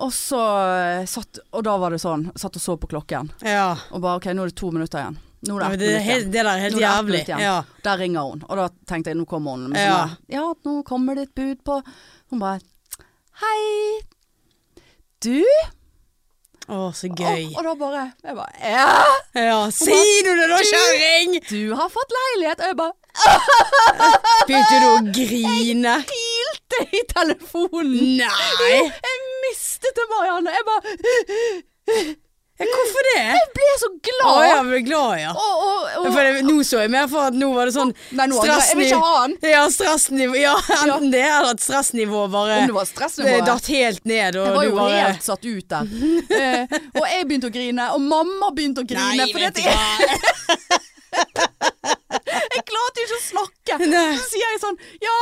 A: Og så eh, satt Og da var det sånn. Satt og så på klokken.
B: Ja.
A: Og bare OK, nå er det to minutter igjen. Nå
B: Ja,
A: er
B: men
A: det
B: Det, er
A: ett minutt
B: helt-
A: igjen.
B: det der er helt
A: Nå er det ett
B: jævlig.
A: minutt igjen.
B: Ja.
A: Der ringer hun. Og da tenkte jeg nå kommer hun. Men så
B: Ja.
A: bare, ja, nå kommer det et bud på Hun bare Hei. Du?
B: Å, så
A: Og,
B: gøy.
A: og da bare Jeg bare Ja!
B: Ja, si du det da, kjerring!
A: Du har fått leilighet! Og jeg bare
B: Begynte du å grine?
A: Pilte i telefonen!
B: Nei!
A: Jeg mistet det, Marianne. Jeg bare
B: Hvorfor det?
A: Jeg ble så glad!
B: Å ja, jeg ble glad, ja.
A: og, og, og,
B: For det, nå så jeg mer for at nå var det sånn
A: Nei, nå angrer jeg. Jeg vil ikke ha den.
B: Ja, stressnivå Ja, enten det eller at stressnivået bare
A: Om det var stressnivået.
B: det datt helt ned, og
A: Jeg var
B: du
A: jo
B: bare
A: helt satt ut der. Eh, og jeg begynte å grine, og mamma begynte å grine.
B: Nei,
A: for
B: vet
A: det,
B: du
A: jeg, *laughs*
B: hva.
A: jeg klarte jo ikke å snakke.
B: Nei.
A: Så sier jeg sånn Ja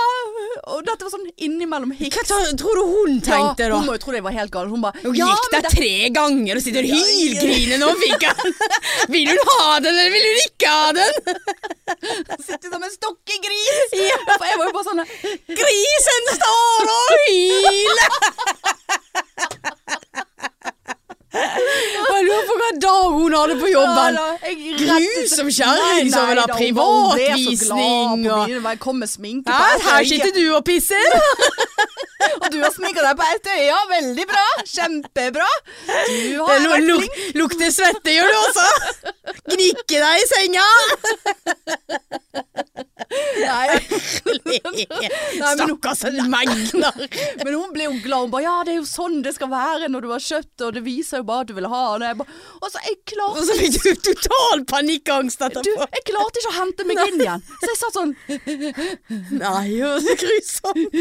A: Og dette var sånn innimellom hikk.
B: Hva ta- tror du hun tenkte,
A: Ja,
B: da?
A: hun må jo tro jeg var helt gal. Hun bare
B: Hun
A: ja,
B: gikk
A: men
B: der tre ganger og sitter og hylgriner nå. Fikk han. *laughs* Vil hun ha den, eller vil hun ikke ha den?
A: dette sitter som en
B: *laughs*
A: stokkegris! For jeg var jo bare sånn
B: Grisen står og hyler! Jeg lurer på hva dag hun hadde på jobben.
A: Ja, da, jeg rettet-
B: Grusom kjerring som vil ha
A: da, hun var- hun ble så glad
B: privatvisning
A: på
B: og
A: mine vei, Kom med sminke
B: Hæ?
A: ett
B: Her
A: øye,
B: sitter du og pisser?
A: Og du har sminka deg på ett øye, ja, veldig bra! Kjempebra! Du
B: Det
A: har
B: er noe
A: vært
B: luk lukter svette, gjør du også? Gnikke deg i senga?
A: men-
B: Stakkars Magnar.
A: Men hun ble jo glad. Hun bare 'ja, det er jo sånn det skal være når du har kjøpt', og det viser jo bare at du vil ha den. Og jeg bare Altså, jeg
B: Og
A: klarte
B: så fikk du total panikkangst
A: du,
B: etterpå.
A: jeg klarte ikke å hente meg inn igjen. Så jeg satt sånn
B: Nei, så grusomt.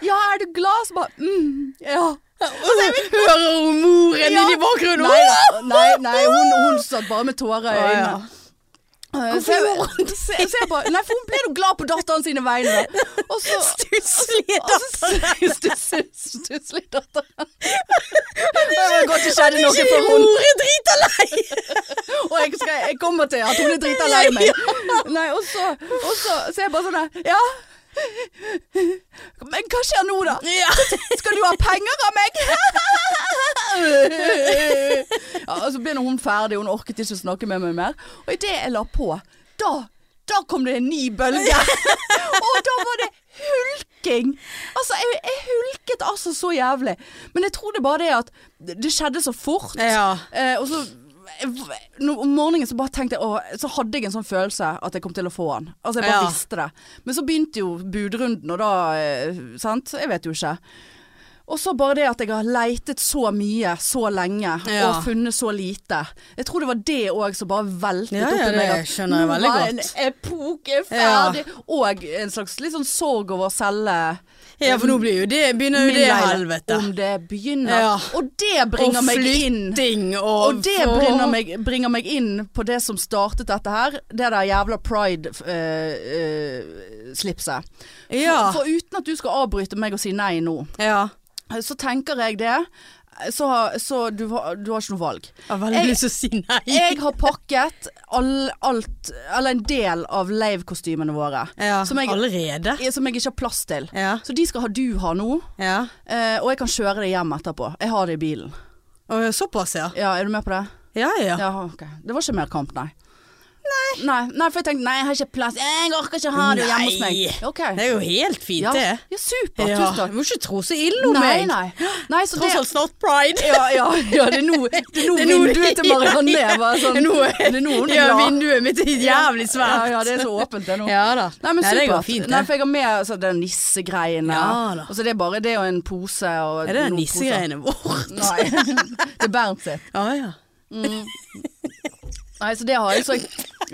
A: Ja, er du glad? Så bare mm, Ja.
B: Og så hører hun moren
A: Ja.
B: inni bakgrunnen.
A: Nei, da. nei, nei hun, hun satt bare med tårer i
B: Å, ja.
A: øynene. Eh, så jeg- så jeg- så jeg bare- Nei, for hun ble jo glad på datteren sine vegne. Og så *laughs*
B: Stusslige
A: og så- *laughs* Stusslig- Stusslig datter. Det godt det skjedde noe for hun
B: Mor er drita lei. *laughs*
A: Og jeg, skal, jeg kommer til at hun er drita lei meg. Nei, og så, og så, så er jeg bare sånn der, Ja. Men hva skjer nå, da? Skal du ha penger av meg? *laughs* Ja, og så ble nå hun ferdig, hun orket ikke å snakke med meg mer. Og idet jeg la på, da, da kom det en ny bølge.
B: *laughs*
A: Og da var det hulking. Altså, jeg, jeg hulket altså så jævlig. Men jeg tror det bare det at det skjedde så fort.
B: Ja.
A: Eh, og så nå, om morgenen så bare tenkte jeg åh, Så hadde jeg en sånn følelse at jeg kom til å få han. Altså jeg bare
B: Ja.
A: visste det. Men så begynte jo budrunden, og da eh, Sant? Jeg vet jo ikke. Og så bare det at jeg har leitet så mye så lenge
B: Ja.
A: og funnet så lite. Jeg tror det var det òg som bare veltet
B: Ja,
A: opp
B: ja,
A: i meg.
B: det
A: at
B: skjønner jeg
A: nå
B: veldig
A: var
B: godt.
A: En epoke
B: Ja.
A: ferdig. Og en slags litt sånn sorg over å selge
B: Ja, for nå blir jo det, begynner jo
A: min
B: det
A: leilighet.
B: helvete.
A: Om det begynner.
B: Ja.
A: Og det bringer
B: og
A: meg inn
B: flytting og
A: og det bringer meg, bringer meg inn på det som startet dette her. Det der jævla eh, pride-slipset.
B: Ja.
A: for, for uten at du skal avbryte meg og si nei nå,
B: ja.
A: så tenker jeg det så, har- så du, har, du har ikke noe valg.
B: Jeg har veldig
A: Jeg-
B: lyst til å si nei.
A: Jeg har pakket all, alt, eller en del av live-kostymene våre.
B: ja,
A: som jeg-
B: allerede.
A: Som jeg ikke har plass til.
B: Ja.
A: Så de skal ha du ha nå,
B: ja.
A: eh, og jeg kan kjøre det hjem etterpå. Jeg har det i bilen.
B: Og såpass, ja.
A: Ja, Er du med på det?
B: Ja, ja.
A: Ja, ok. Det var ikke mer kamp, nei. Nei. nei. for jeg tenkte nei, jeg har ikke plass. Jeg orker ikke ha det hjemme hos meg.
B: Nei.
A: Ok.
B: Det er jo helt fint,
A: ja.
B: det.
A: ja, supert.
B: Ja.
A: Tusen
B: Du
A: takk.
B: må ikke tro så ille om
A: nei,
B: meg.
A: nei. nei så
B: Tross
A: det,
B: alt snart pride.
A: ja, ja, ja, det er nå *laughs* det er nå
B: Det er nå-
A: vinduet
B: *laughs*
A: til Marianne er bare sånn
B: Nå er-
A: Det er nå hun er
B: ja,
A: glad.
B: vinduet mitt er jævlig
A: Ja,
B: svært.
A: ja, det er så åpent det nå.
B: Ja da.
A: Nei, men supert.
B: det går fint,
A: Nei,
B: det.
A: for jeg har med altså, den nissegreiene.
B: Ja da.
A: Og så det er bare det og en pose og
B: Er det
A: noen
B: den nissegreiene vårt?
A: poser. Nei. *laughs* det er Bernt sitt.
B: *laughs* Ja, ja.
A: Nei, så det har jeg. Så jeg,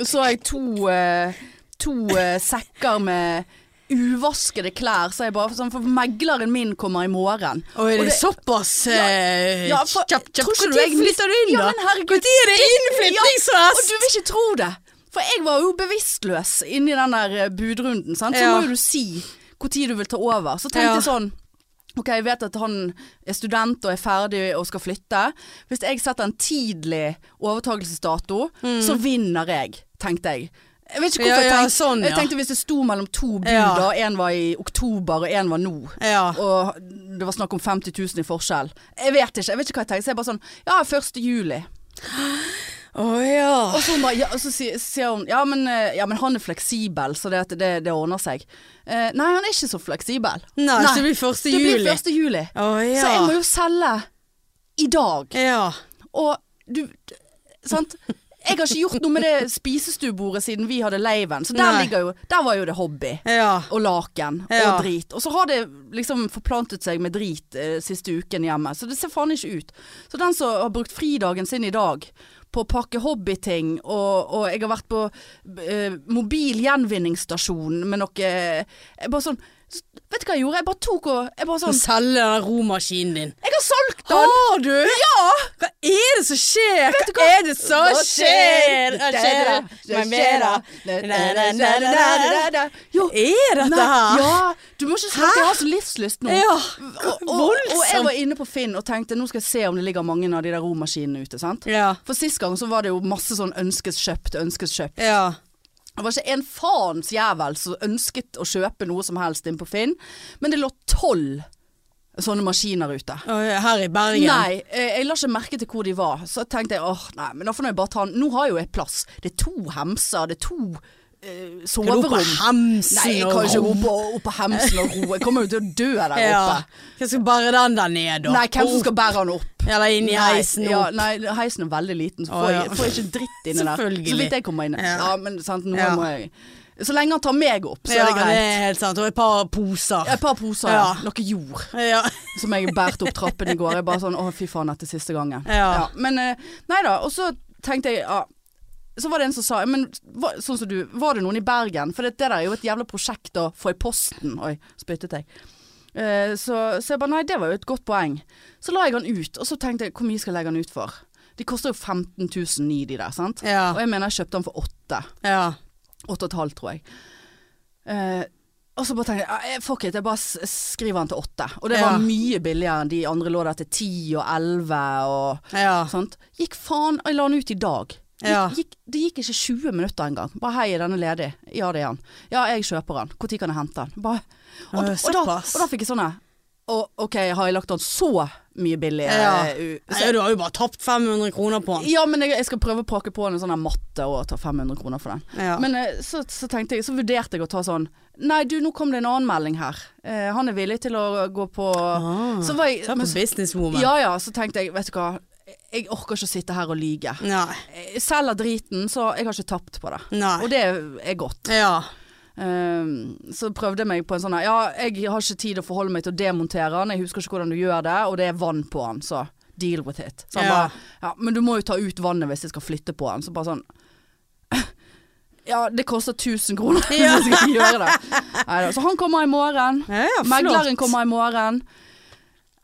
A: så har jeg to, eh, to eh, sekker med uvaskede klær, så jeg bare sånn, For megleren min kommer i morgen.
B: Og er
A: Og
B: det,
A: det-
B: såpass eh,
A: Ja, for-
B: kjapp, kjapp.
A: tror ikke du
B: Når
A: jeg-
B: flytter du inn,
A: Ja,
B: da?
A: men herregud,
B: Når er det
A: Og
B: innflyttingsfest?
A: du vil ikke tro det! For jeg var jo bevisstløs inni den der eh, budrunden, sant? så
B: Ja.
A: må jo du si når du vil ta over. Så tenkte
B: Ja.
A: jeg sånn Ok, jeg vet at han er student og er ferdig og skal flytte. Hvis jeg setter en tidlig overtakelsesdato, så vinner jeg, tenkte jeg. Jeg vet ikke hvorfor
B: Mm. Ja,
A: jeg
B: ja,
A: tenkte
B: sånn, ja.
A: Jeg tenkte hvis det sto mellom to bud,
B: Ja.
A: og én var i oktober og én var nå,
B: Ja.
A: og det var snakk om 50 000 i forskjell Jeg vet ikke, jeg vet ikke hva jeg tenkte. Så jeg bare sånn Ja, 1. juli.
B: Å ja.
A: Og så, hun bare, ja, og så sier, sier hun ja men, eh, ja, men han er fleksibel, så det, at det, det ordner seg. Eh, nei, han er ikke så fleksibel.
B: Nei, så det blir 1.
A: Det blir
B: juli.
A: 1. juli.
B: Å ja.
A: Så jeg må jo selge i dag.
B: Ja.
A: Og du Sant? Jeg har ikke gjort noe med det spisestuebordet siden vi hadde leiven, så der,
B: Nei.
A: ligger jo, der var jo det hobby.
B: Ja.
A: Og laken
B: Ja.
A: og drit. Og så har det liksom forplantet seg med drit eh, siste uken hjemme, så det ser faen ikke ut. Så den som har brukt fridagen sin i dag på å pakke hobbyting, og, og jeg har vært på eh, mobil gjenvinningsstasjon med noe jeg bare sånn Vet du hva jeg gjorde? Jeg bare tok og jeg bare
B: Å
A: sånn
B: selge den romaskinen din.
A: Jeg har solgt den!
B: Har du? Ja! Hva er det som skjer? Hva, er det som skjer? Hva skjer? Hva skjer? Na, na, na, na, na, na.
A: Jo,
B: Er dette her?
A: Ja, du må ikke snakke, jeg har så livslyst nå.
B: Ja.
A: Og, og, og jeg
B: Voldsomt.
A: var inne på Finn og tenkte nå skal jeg se om det ligger mange av de der romaskinene ute. sant?
B: Ja.
A: For sist gang så var det jo masse sånn ønskes kjøpt, ønskes kjøpt.
B: Ja.
A: Det var ikke en faens jævel som ønsket å kjøpe noe som helst inn på Finn, men det lå tolv sånne maskiner ute.
B: Å, ja, Her i Bergen.
A: Nei, eh, jeg la ikke merke til hvor de var. Så tenkte jeg åh, nei, men da får jeg bare ta den. Nå har jeg jo jeg plass. Det er to hemser, det er to eh,
B: Skal du opp på
A: soverom.
B: Hemsen
A: Nei, jeg
B: og
A: kan ikke
B: ro?
A: opp på, opp på hemsen og ro. Jeg kommer jo til å dø der
B: Ja.
A: oppe.
B: Hvem skal bære den der ned, da?
A: Nei, hvem som
B: Opp.
A: skal bære han opp?
B: Eller inn i
A: Nei,
B: heisen
A: Ja,
B: opp.
A: nei, heisen er veldig liten, så
B: Å,
A: får,
B: ja.
A: jeg, får jeg ikke dritt inni der.
B: Selvfølgelig.
A: Så vidt jeg kommer inn. Ja,
B: Ja.
A: men sant, nå
B: Ja.
A: må jeg Så lenge han tar meg opp, så
B: Ja,
A: er det
B: det
A: greit.
B: er helt sant. Og et par poser.
A: Et par poser,
B: Ja.
A: noe jord,
B: Ja.
A: som jeg bærte opp trappen i går. Jeg bare sånn Å, fy faen, dette er siste gangen.
B: Ja.
A: Men eh, nei da. Og så tenkte jeg ja. Så var det en som sa Men hva, sånn som du, var det noen i Bergen? For det, det der er jo et jævla prosjekt å få i posten. Oi, spyttet jeg. Eh, så, så jeg bare Nei, det var jo et godt poeng. Så la jeg han ut, og så tenkte jeg hvor mye skal jeg legge han ut for? De koster jo 15 000 ny, de der, sant?
B: Ja.
A: Og jeg mener jeg kjøpte han for åtte.
B: ja.
A: Åtte og et halvt, tror jeg. Eh, og så bare tenkte jeg eh, fuck it, jeg bare s- skriver han til åtte. Og det
B: Ja.
A: var mye billigere enn de andre lå der til ti og elleve og
B: ja.
A: sant? Gikk faen Jeg la han ut i dag. Gikk,
B: Ja.
A: gikk, det gikk ikke 20 minutter engang. Bare 'hei, er denne ledig?' Ja, det er han. Ja, jeg kjøper han. Når kan jeg hente han? Bare, og,
B: Øh,
A: og, da,
B: såpass.
A: og da fikk jeg sånn her «Å, OK, har jeg lagt han så mye billig?
B: Ja.
A: eh, u- så-
B: Nei, du har jo bare tapt 500 kroner på den.
A: ja, men jeg, jeg skal prøve å pakke på en sånn her matte og ta 500 kroner for den.
B: Ja.
A: Men eh, så, så tenkte jeg, så vurderte jeg å ta sånn Nei, du, nå kom det en annen melding her. Eh, han er villig til å gå på
B: Ah,
A: Så var jeg
B: Så er det
A: men
B: på
A: så-
B: businesswoman.
A: Ja ja, så tenkte jeg, vet du hva. Jeg orker ikke å sitte her og lyge.
B: Nei.
A: Jeg selger driten, så jeg har ikke tapt på det.
B: Nei.
A: Og det er godt.
B: Ja.
A: Ehm, så prøvde jeg meg på en sånn her, Ja, jeg har ikke tid å forholde meg til å demontere den. Jeg husker ikke hvordan du gjør det, og det er vann på den, så deal with it. Så han
B: Ja.
A: bare Ja, men du må jo ta ut vannet hvis jeg skal flytte på den. Så bare sånn *laughs* Ja, det koster 1000 kroner *laughs* hvis
B: Ja.
A: jeg skal gjøre det. Neida, Så han kommer i morgen.
B: Ja, ja, flott.
A: Megleren kommer i morgen.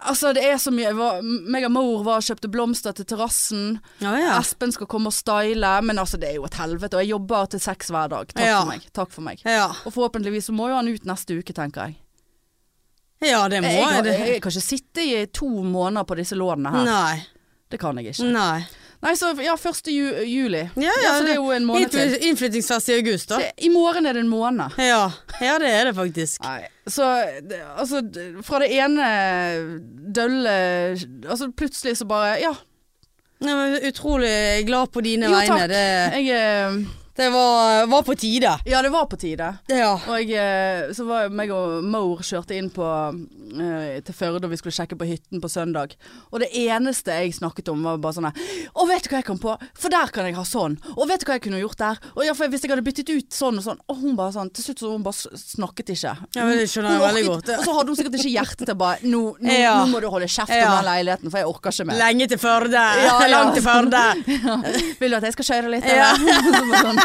A: Altså, det er så mye jeg var- Meg og mor var og kjøpte blomster til terrassen.
B: Ja, ja.
A: Espen skal komme og style, men altså, det er jo et helvete. Og jeg jobber til seks hver dag. Takk
B: Ja.
A: for meg. Takk for meg.
B: Ja.
A: Og forhåpentligvis så må jo han ut neste uke, tenker jeg.
B: Ja, det må
A: Jeg,
B: jeg.
A: kan-
B: Det.
A: jeg kan ikke sitte i to måneder på disse lånene her.
B: Nei.
A: Det kan jeg ikke.
B: Nei.
A: Nei, så ja, 1. Ju juli.
B: Ja, ja,
A: så det er jo en måned til.
B: innfly- Innflyttingsfest i august, da.
A: Det, I morgen er det en måned.
B: Ja. ja, det er det faktisk.
A: Nei, så det, altså d- Fra det ene dølle Altså plutselig så bare Ja,
B: Jeg er utrolig glad på dine
A: jo
B: vegne.
A: takk.
B: Det,
A: Jeg eh,
B: det var, var på tide.
A: Ja, det var på tide.
B: Ja.
A: Og jeg, eh, så var jeg meg og Moore kjørte inn på, eh, til Førde, og vi skulle sjekke på hytten på søndag. Og det eneste jeg snakket om, var bare sånn her Å, vet du hva jeg kan på? For der kan jeg ha sånn. Og vet du hva jeg kunne gjort der? Og ja, for Hvis jeg hadde byttet ut sånn og sånn. Og hun bare sånn Til slutt så hun bare s- snakket ikke.
B: Ja, men det skjønner jeg
A: Hun
B: veldig
A: orket-
B: godt.
A: Og så hadde hun sikkert ikke hjerte til bare Nå, nå,
B: Ja.
A: nå må du holde kjeft
B: Ja.
A: om den leiligheten, for jeg orker ikke mer.
B: Lenge til Førde.
A: Ja, ja.
B: Langt til
A: *laughs*
B: Førde.
A: Vil du at jeg skal kjøre litt?
B: Ja.
A: eller? *laughs* Så bare
B: *laughs*
A: sånn.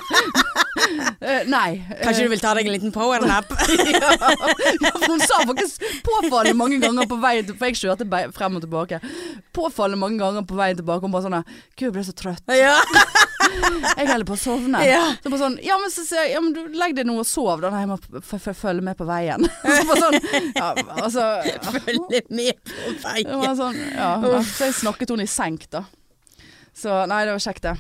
A: Eh, nei.
B: Kanskje du vil ta deg en liten powernap?
A: *laughs* Ja, for hun sa faktisk påfallende mange ganger på veien til- For jeg kjørte be- frem og tilbake. Påfallende mange ganger på veien tilbake. Hun bare sånn her, Gud, jeg ble så trøtt.
B: ja.
A: Jeg holder på å sovne.
B: Ja.
A: Så bare sånn Ja, men så sier jeg Ja, men du legg deg nå og sov, da. Nei, jeg må f f følge med på veien. *laughs* Så bare sånn Ja, altså
B: Følg med på
A: det var
B: veien.
A: sånn, ja, ja. Så jeg snakket hun i senk, da. Så nei, det var kjekt, det.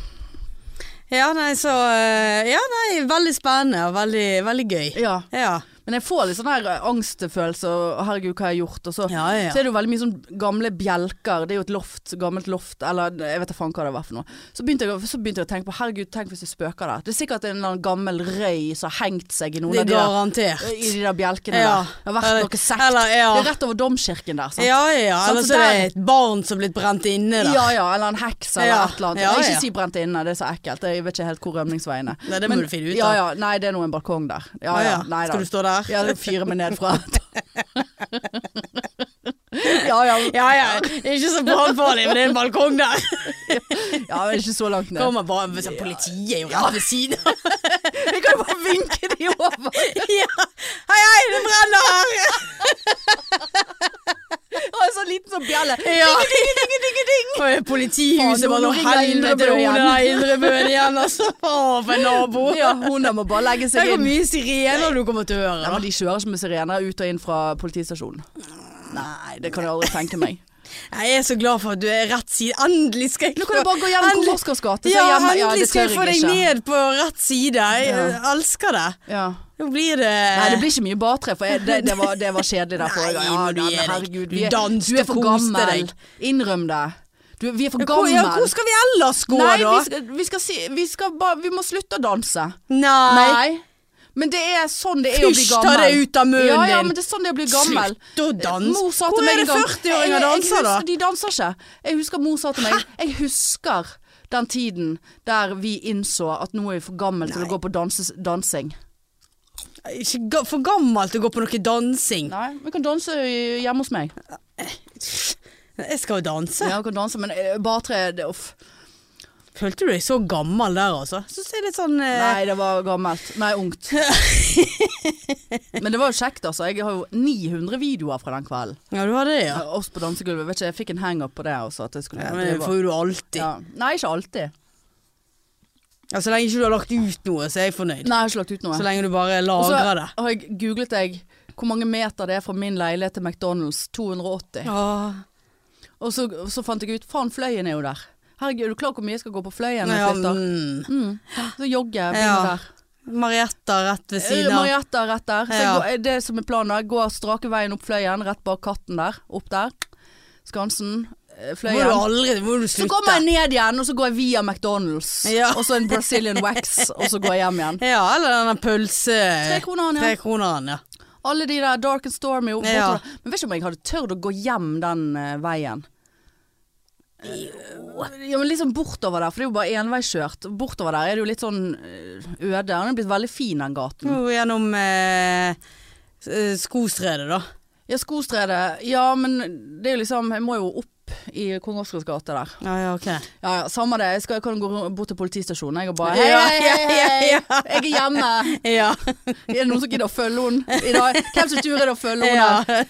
B: Ja, nei, så eh, Ja, nei, veldig spennende og veldig, veldig gøy.
A: Ja.
B: Ja.
A: Men jeg får litt sånn her eh, angstfølelse og herregud, hva har jeg gjort? Og så
B: Ja, ja, ja.
A: Så er det jo veldig mye sånn gamle bjelker. Det er jo et loft, gammelt loft, eller jeg vet da faen hva det var for noe. Så begynte, jeg, å- så begynte jeg å tenke på herregud, tenk hvis jeg spøker der. Det er sikkert en eller annen gammel røy som har hengt seg i noen
B: Det
A: av
B: er
A: de der,
B: garantert.
A: i de der bjelkene
B: Ja.
A: der. Det har vært
B: Eller-
A: noe sekt.
B: eller, ja.
A: Det er rett over domkirken der. Sant?
B: Ja, ja.
A: Sant,
B: Eller
A: så
B: så er det
A: der-
B: et barn som er blitt brent inne der.
A: Ja ja, eller en heks eller
B: Ja.
A: et eller annet.
B: Ja,
A: Nei,
B: ja.
A: Ikke si brent inne, det er så ekkelt. Jeg vet ikke helt hvor rømningsveien er.
B: Nei, det må du finne ut
A: ja,
B: av.
A: ja, Nei, det er nå en balkong der. Ja, ja.
B: Å, ja.
A: Nei, da.
B: Skal du stå der?
A: Ja, det fyrer meg ned
B: *laughs*
A: fra *laughs* Ja ja,
B: Ja, ja. Det er ikke så brannfarlig, men det er en balkong der.
A: ja, men ikke så langt ned.
B: Kommer bare hvis Politiet er jo rett ved siden av. *laughs*
A: Jeg kan jo bare vinke de over.
B: Ja. Hei, hei, det brenner her!
A: Og en sånn liten sånn bjelle.
B: Ja. Og Politihuset
A: Faen,
B: var
A: nå
B: noe
A: ringer
B: helvete
A: Indrebø
B: hun
A: igjen.
B: der Indrebøen igjen, altså. Faen, for en nabo.
A: *laughs* Ja, hundene må bare legge seg
B: Tenk hvor
A: inn.
B: mye sirener du kommer til å
A: Nei,
B: høre.
A: men De kjører ikke med sirener ut og inn fra politistasjonen. Nei, det kan jeg aldri tenke meg.
B: da. Jeg er så glad for at du er rett side. Endelig skal jeg
A: Nå kan du bare gå gjennom
B: Endelig-
A: Kong Oscars gate. så
B: Ja,
A: hjemme- ja,
B: endelig
A: det
B: skal jeg
A: tør
B: få deg
A: ikke.
B: ned på rett side. Jeg
A: Ja.
B: elsker det.
A: *laughs* Ja.
B: Nå blir det
A: Nei, det blir ikke mye batre, for jeg, det, det, var, det var kjedelig der forrige gang.
B: Nei, men du
A: men
B: er deg.
A: herregud,
B: Du
A: vi er-
B: danset
A: du er for
B: og koste
A: gammel.
B: deg.
A: Innrøm det. Du, vi er for
B: hvor,
A: gammel.
B: ja, hvor skal vi ellers gå,
A: Nei,
B: da?
A: vi skal, vi skal si Vi skal bare Vi må slutte å danse.
B: Nei.
A: Nei. Men det er sånn det er å bli
B: Fysj, ta
A: gammel.
B: det ut av munnen
A: ja, ja,
B: din.
A: men det er sånn det er å bli gammel.
B: Slutt å danse.
A: Mor sa
B: Hvor
A: til meg en
B: er det
A: gang- Jeg-
B: 40-åringer
A: jeg
B: danser,
A: husker-
B: da?
A: De danser ikke. Jeg husker mor sa til meg Jeg husker den tiden der vi innså at nå er vi for gammel til å gå på danses, dansing.
B: Ikke ga- for gammel til å gå på noe dansing.
A: Nei, vi kan danse i- hjemme hos meg.
B: Jeg skal jo danse.
A: Ja, vi kan danse, men eh, bare tre det, uff.
B: Følte du deg så gammel der, altså? Syns jeg er litt sånn eh,
A: Nei, det var gammelt. Nei,
B: *laughs*
A: ungt. Men det var jo kjekt, altså. Jeg har jo 900 videoer fra den kvelden.
B: Ja, du har det, ja.
A: Eh, Oss på dansegulvet. Vet ikke, jeg fikk en hangup på det også. At jeg skulle,
B: ja men
A: det
B: det
A: var-
B: får jo du alltid. Ja.
A: Ja. Nei, ikke alltid.
B: så lenge ikke du har lagt ut noe, så er jeg fornøyd.
A: Nei, jeg har ikke lagt ut noe.
B: Så lenge du bare
A: Og så
B: lagrer det.
A: har jeg googlet jeg hvor mange meter det er fra min leilighet til McDonald's. 280.
B: Åh.
A: Og så, så fant jeg ut faen, Fløyen er jo der. Herregud, er du klar hvor mye jeg skal gå på Fløyen? når jeg
B: Ja,
A: flytter?
B: mm.
A: Mm. Så jogger jeg
B: Ja,
A: begynner der.
B: Marietta rett ved
A: Eh,
B: siden av.
A: Marietta er rett der. Så jeg
B: Ja.
A: går, eh, det som er planen, jeg går strake veien opp Fløyen, rett bak katten der. Opp der. Skansen. eh,
B: Må du
A: Fløyen.
B: aldri må du
A: Så
B: slutte.
A: kommer jeg ned igjen, og så går jeg via McDonald's.
B: Ja.
A: Og så en Brazilian wax, og så går jeg
B: *laughs*
A: hjem igjen.
B: Ja, eller denne pølse...
A: Tre kroner han, ja.
B: Tre kroner han, ja.
A: Alle de der Dark and Stormy og
B: Ja.
A: båter. Men vet ikke om jeg hadde tørt å gå hjem den eh, veien. Ja, men liksom bortover der, for det er jo bare enveiskjørt. Bortover der er det jo litt sånn eh, øde. Den er blitt veldig fin, den gaten.
B: Nå gjennom eh, s- eh, skostredet, da.
A: Ja, Skostredet. Ja, men det er jo liksom Jeg må jo opp i Kong Oscars gate der.
B: Ja, ja, ok.
A: Ja ja, samme det. Jeg, skal, jeg kan gå bort til politistasjonen jeg og bare
B: Ja,
A: Hei, hei, hei,
B: *laughs* ja,
A: hei. jeg er hjemme.
B: Ja.
A: Er det noen som gidder å følge henne i dag? Hvem sin tur er det å følge henne?
B: ja.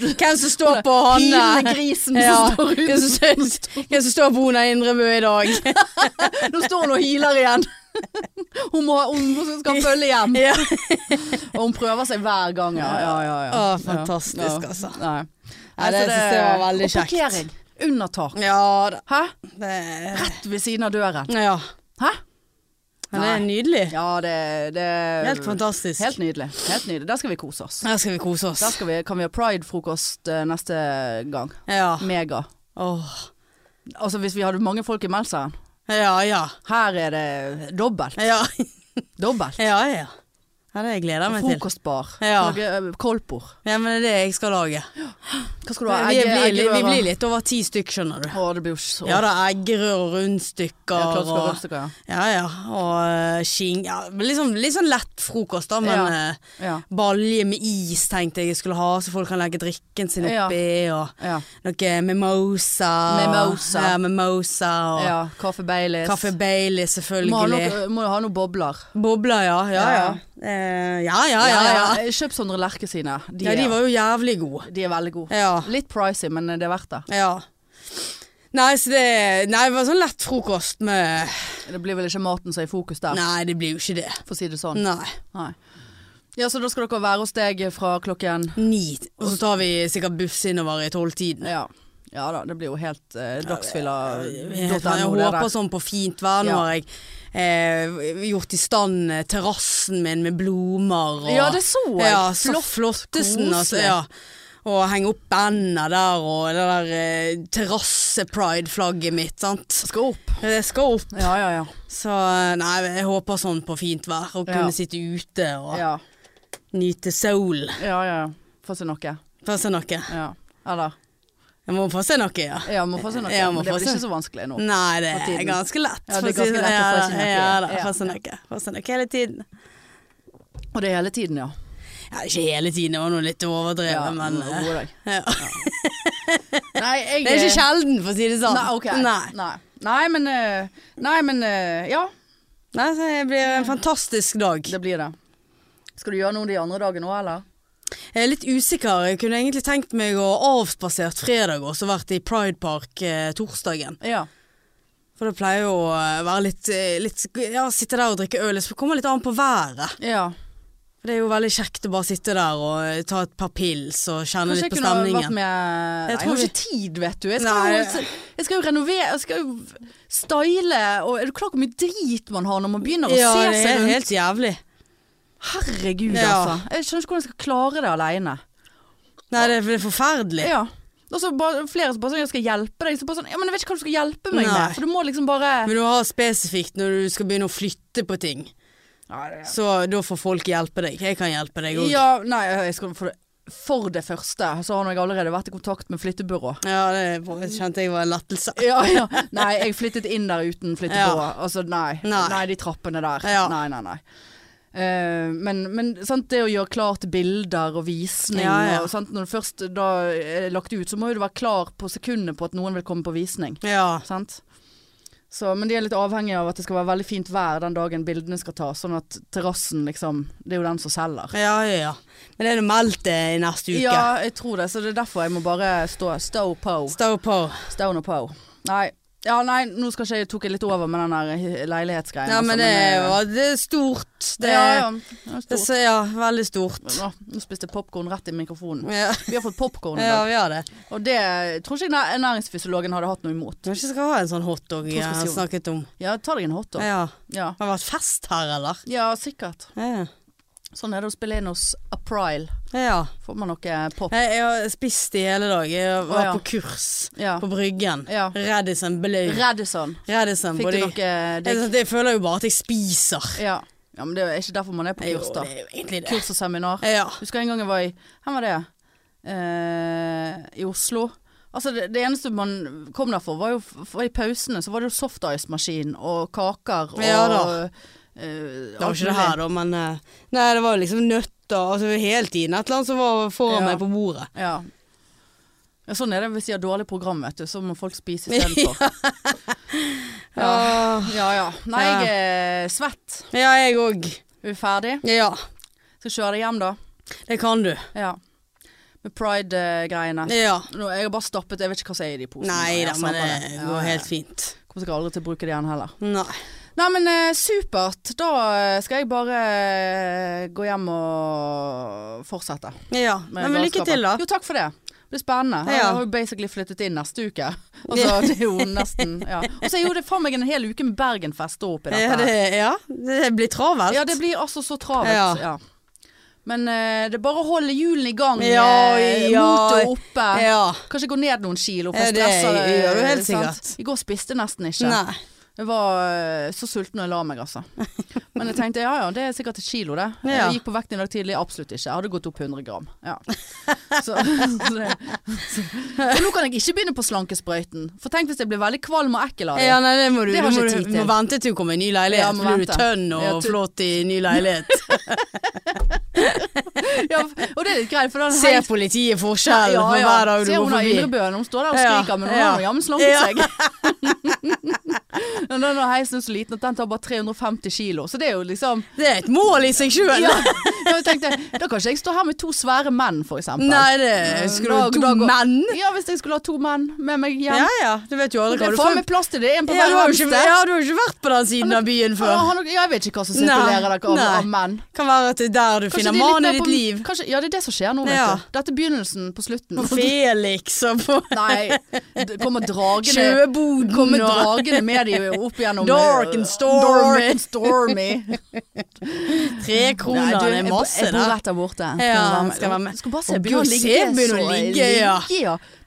B: Hvem som står på *laughs* Hanne?
A: Hylegrisen
B: Ja.
A: som står ute.
B: Hvem som står på Hona Indrebø i dag?
A: Nå står hun og hyler igjen. *laughs* Hun må, hun må skal følge hjem.
B: Ja.
A: Og hun prøver seg hver gang. Ja, ja, ja. ja.
B: Å, fantastisk, altså.
A: Nei.
B: Nei, det synes jeg var veldig
A: Og parkering under tak.
B: Ja da.
A: Hæ?
B: Det,
A: Rett ved siden av døren.
B: ja.
A: Hæ?
B: Men det er nydelig.
A: Ja, det, det
B: Helt fantastisk.
A: Helt nydelig. Helt nydelig. Der skal vi kose oss.
B: Her skal vi
A: Der
B: kose oss.
A: skal vi, kan vi ha pridefrokost eh, neste gang.
B: Ja.
A: Mega.
B: Åh.
A: Altså hvis vi hadde mange folk i Melseren.
B: Ja, ja.
A: Her er det dobbelt.
B: Ja,
A: Dobbelt.
B: ja. ja. ja det gleder jeg meg til.
A: Frokostbar.
B: Ja.
A: Noe, eh, Koldbord.
B: Ja, men det er det jeg skal lage.
A: Hva skal du ha?
B: Vi
A: Egge-
B: blir, li- vi
A: eggerøre?
B: blir litt over ti stykk, skjønner du.
A: Å, det blir jo så
B: Ja da, eggerør og rundstykker.
A: Ja, klart skal
B: og-
A: rundstykker, ja.
B: Ja, ja. Og eh, skin... Ja, liksom, litt sånn lett frokost, da, men
A: Ja.
B: eh,
A: Ja.
B: Balje med is tenkte jeg jeg skulle ha, så folk kan legge drikken sin
A: Ja.
B: oppi. Og
A: Ja.
B: noe mimosa.
A: Mimosa.
B: Ja, mimosa og
A: ja. Kaffe Baileys.
B: kaffe
A: Må
B: Bailey,
A: ha,
B: selvfølgelig.
A: noe, må ha noen bobler.
B: Bobler, ja. Ja ja. Eh, ja, ja, ja. ja.
A: Kjøp Sondre Lerche sine. De,
B: Ja, de
A: er,
B: var jo jævlig gode.
A: de er veldig gode.
B: Ja.
A: Litt pricy, men det er verdt det.
B: ja. Nei, så det, nei, det var sånn lett frokost med
A: Det blir vel ikke maten som er i fokus der,
B: Nei, Mm. det blir jo ikke det.
A: for å si det sånn.
B: Nei.
A: Nei. Ja, så da skal dere være hos deg fra klokken
B: Ni. Og så tar vi sikkert buss innover i tolvtiden.
A: Ja, ja da, det blir jo helt eh, dagsfylla.no.
B: Jeg
A: det
B: håper
A: der.
B: sånn på fint vær. Nå
A: Ja.
B: har jeg eh, gjort i stand eh, terrassen min med blomster og
A: Ja, det så jeg.
B: Ja, så flottesen, altså.
A: Koselig.
B: Ja. Og henge opp bandet der, og det der eh, terrasse-pride-flagget mitt, sant.
A: Skal opp.
B: Det skal opp.
A: Ja, ja, ja.
B: Så eh, nei, jeg håper sånn på fint vær, og
A: Ja.
B: kunne sitte ute og
A: Ja,
B: nyte solen.
A: ja. ja. Få seg noe.
B: Få se noe.
A: Ja. Eller
B: Jeg må få se noe, ja.
A: Ja, må få seg noe.
B: Ja, må
A: men det
B: få
A: blir
B: se.
A: ikke så vanskelig nå.
B: Nei, det
A: For
B: er
A: tiden.
B: ganske lett.
A: Ja, det er
B: for å si
A: ganske lett å
B: ja,
A: få
B: da,
A: sin nøkkel.
B: Ja da,
A: Ja,
B: få sin nøkkel. Få sin nøkkel hele tiden. Mm.
A: Og det er hele tiden, ja.
B: Ja, ikke hele tiden, det var nå litt overdrevet,
A: Ja,
B: men
A: gode
B: eh, *laughs*
A: deg.
B: ja.
A: *laughs* Nei, jeg eh,
B: Det er ikke sjelden, for å si det sånn.
A: Nei, ok.
B: Nei.
A: Nei. Nei, men eh, Nei, men eh, Ja,
B: Nei, så det blir en fantastisk dag.
A: Mm. det blir det. Skal du gjøre noe de andre dagene òg, eller?
B: Jeg er litt usikker. Jeg kunne egentlig tenkt meg å avspasert fredag og så vært i Pride Park eh, torsdagen.
A: Ja.
B: For det pleier jo å være litt, eh, litt Ja, sitte der og drikke øl. Det kommer litt an på været.
A: ja.
B: For Det er jo veldig kjekt å bare sitte der og eh, ta et par pils og kjenne
A: Kanskje
B: litt
A: jeg
B: på
A: kunne ha vært
B: stemningen.
A: med Nei, Jeg
B: tror
A: har
B: vi-
A: ikke tid, vet du. Jeg skal,
B: Nei.
A: jo, jeg skal jo renovere, jeg skal jo style og Er du klar over hvor mye drit man har når man begynner å
B: Ja,
A: se
B: det
A: seg
B: er
A: rundt?
B: helt jævlig.
A: Herregud,
B: Ja.
A: altså. Jeg skjønner ikke hvordan jeg skal klare det aleine.
B: Nei, det er, det er forferdelig.
A: Ja. Og så bare, flere som bare sånn 'Jeg skal hjelpe deg', så bare sånn 'Ja, men jeg vet ikke hva du skal hjelpe meg
B: Nei.
A: med', for du må liksom bare
B: Men du har spesifikt når du skal begynne å flytte på ting. Så da får folk hjelpe deg. Jeg kan hjelpe deg òg.
A: Ja, nei, jeg skal for det, for det første så har jeg allerede vært i kontakt med flyttebyrå.
B: Ja, det kjente jeg var en lettelse.
A: Ja, ja. Nei, jeg flyttet inn der uten flyttebyrå. Altså, nei. nei.
B: Nei.
A: de trappene der.
B: Ja.
A: Nei, nei, nei. Eh, men men sant, det å gjøre klart bilder og visning
B: Ja, ja.
A: Og, sant, Når det først da er lagt ut, så må jo du være klar på sekundet på at noen vil komme på visning.
B: Ja.
A: Sant? Så, men de er litt avhengige av at det skal være veldig fint vær den dagen bildene skal tas. Sånn at terrassen liksom Det er jo den som selger.
B: Ja, ja, ja. Men det er det meldt det i neste uke.
A: Ja, jeg tror det. Så det er derfor jeg må bare stå stow po.
B: Stå på.
A: Stone og po. Nei. Ja, nei, nå skal ikke jeg tok jeg litt over med den der leilighetsgreien.
B: Ja,
A: altså,
B: men det er,
A: eh,
B: jo- det er stort. Det,
A: ja,
B: er-
A: ja. ja,
B: det er
A: stort.
B: så- ja, veldig stort.
A: Nå, nå spiste jeg popkorn rett i mikrofonen.
B: Ja,
A: Vi har fått popkorn i
B: ja
A: dag,
B: vi har det.
A: og det tror ikke jeg nær- næringsfysiologen hadde hatt noe imot.
B: Kanskje jeg skal ha en sånn hotdog jeg har
A: Torskesion.
B: snakket om.
A: Ja, ta deg en hotdog.
B: Ja.
A: Ja.
B: Har det vært fest her, eller?
A: ja, sikkert.
B: Ja.
A: Sånn er det å spille inn hos April.
B: ja.
A: Får man noe pop?
B: Jeg, jeg har spist i hele dag. Jeg var
A: Å, ja.
B: på kurs
A: Ja.
B: på Bryggen.
A: Ja.
B: Reddisen bløy.
A: Radisson.
B: Reddisen
A: Fikk
B: både
A: du noe eh,
B: jeg,
A: digg?
B: sånn, jeg føler jo bare at jeg spiser.
A: Ja. ja, men det er ikke derfor man er på
B: Jo,
A: kurs,
B: det
A: da.
B: er jo egentlig det.
A: Kurs og seminar.
B: Ja.
A: Husker en gang jeg var i Hvor var det? Eh, I Oslo. Altså det, det eneste man kom der for, var jo f- for i pausene så var det jo softice-maskin og kaker og
B: Ja da.
A: eh,
B: Det var
A: alt
B: ikke det
A: mulig.
B: her, da, men eh, Nei, det var jo liksom nøtter altså, Hele tiden et eller annet som var foran
A: Ja.
B: meg på bordet.
A: Ja. ja. Sånn er det hvis de har dårlig program, vet du. Så må folk
B: *laughs*
A: spise istedenfor. ja.
B: Åh.
A: ja ja. Nei, jeg er svett.
B: Ja, jeg òg.
A: Er vi ferdig?
B: Ja,
A: Skal kjøre deg hjem, da.
B: det kan du.
A: Ja. Med pride-greiene.
B: Ja.
A: Nå, Jeg har bare stappet, jeg vet ikke hva som er i de posene.
B: Nei
A: Jeg
B: da, men
A: stapper det.
B: det
A: Ja,
B: går
A: ja, ja.
B: helt fint.
A: Kommer sikkert aldri til å bruke det igjen heller.
B: Nei.
A: Nei, men eh, supert. Da eh, skal jeg bare eh, gå hjem og fortsette.
B: Ja,
A: med
B: men lykke
A: galskapen.
B: til, da.
A: Jo, takk for det. Det blir spennende.
B: Ja.
A: Jeg har jo basically flyttet inn neste uke. *laughs* Altså, det er jo nesten ja. Og så er jo det faen meg en hel uke med Bergenfest da oppi dette.
B: Ja,
A: her.
B: det, ja, det blir travelt.
A: Ja, det blir altså så travelt.
B: Ja.
A: Ja. Men eh, det er bare å holde hjulene i gang.
B: Ja,
A: eh,
B: ja.
A: Motet oppe.
B: Ja.
A: Kanskje gå ned noen kilo, for
B: Ja,
A: jeg
B: det
A: stresser. eh,
B: gjør du helt
A: sant?
B: sikkert.
A: I går spiste jeg nesten ikke.
B: Nei.
A: Jeg var eh, så sulten når jeg la meg,
B: *laughs*
A: altså. Men jeg tenkte ja ja, det er sikkert et kilo, det.
B: Ja.
A: Jeg gikk på vekten i dag tidlig, absolutt ikke. Jeg hadde gått opp 100 gram.
B: *laughs*
A: Ja. Så, *laughs* så, det- så. Og nå kan jeg ikke begynne på slankesprøyten. For tenk hvis jeg blir veldig kvalm og ekkel av det.
B: Ja, nei, det må du,
A: Det har
B: du må,
A: ikke
B: du
A: tid til.
B: må vente til du kommer i ny leilighet.
A: Ja,
B: så
A: må
B: blir du
A: vente.
B: tønn og
A: Ja, tu-
B: flott i ny leilighet.
A: Ja, og det er litt greit, for den
B: Se politiet forskjell
A: Ja,
B: på
A: ja.
B: hver dag du
A: Se,
B: går
A: hun har
B: forbi.
A: Indrebøen, hun står der og
B: Ja,
A: skriker, men hun
B: ja.
A: har jo jammen slanket
B: Ja.
A: seg. *laughs*
B: *laughs*
A: Men den heisen er så liten at den tar bare 350 kilo, så det er jo liksom
B: Det er et mål i seg sjøl.
A: ja. Jeg tenkte, Da kan ikke jeg stå her med to svære menn, for eksempel. Eh,
B: Nei, det skulle
A: Da-
B: du
A: da
B: to
A: går-
B: menn.
A: Ja, hvis jeg skulle ha to menn med meg hjem.
B: Ja ja, du vet jo aldri
A: Det
B: hva
A: er
B: du
A: faen
B: får.
A: meg plass til det, en på
B: Ja,
A: hver
B: du har jo ikke,
A: venstre.
B: ja, du har jo ikke vært på den siden av byen
A: Ja,
B: før.
A: han- ja, jeg vet ikke hva som sirkulerer der av,
B: Nei.
A: av menn.
B: Kan være at det er der du
A: Kanskje
B: finner
A: de er litt
B: mannen
A: mer
B: i ditt
A: på-
B: liv.
A: Kanskje, ja, det er det som skjer nå, vet
B: Ja.
A: du. Dette er begynnelsen på slutten.
B: Felix og på
A: *laughs* Nei, det kommer dragende
B: sjøboden
A: Kommer
B: og
A: dragende med de opp gjennom eh,
B: Dark and stormy.
A: Dark and *laughs* stormy.
B: Trekroner. Det er masse
A: Jeg bor
B: der.
A: rett der borte.
B: Ja,
A: du
B: skal være med.
A: Du skal bare
B: Og
A: se
B: Bjørn Sev begynner å ligge, ja.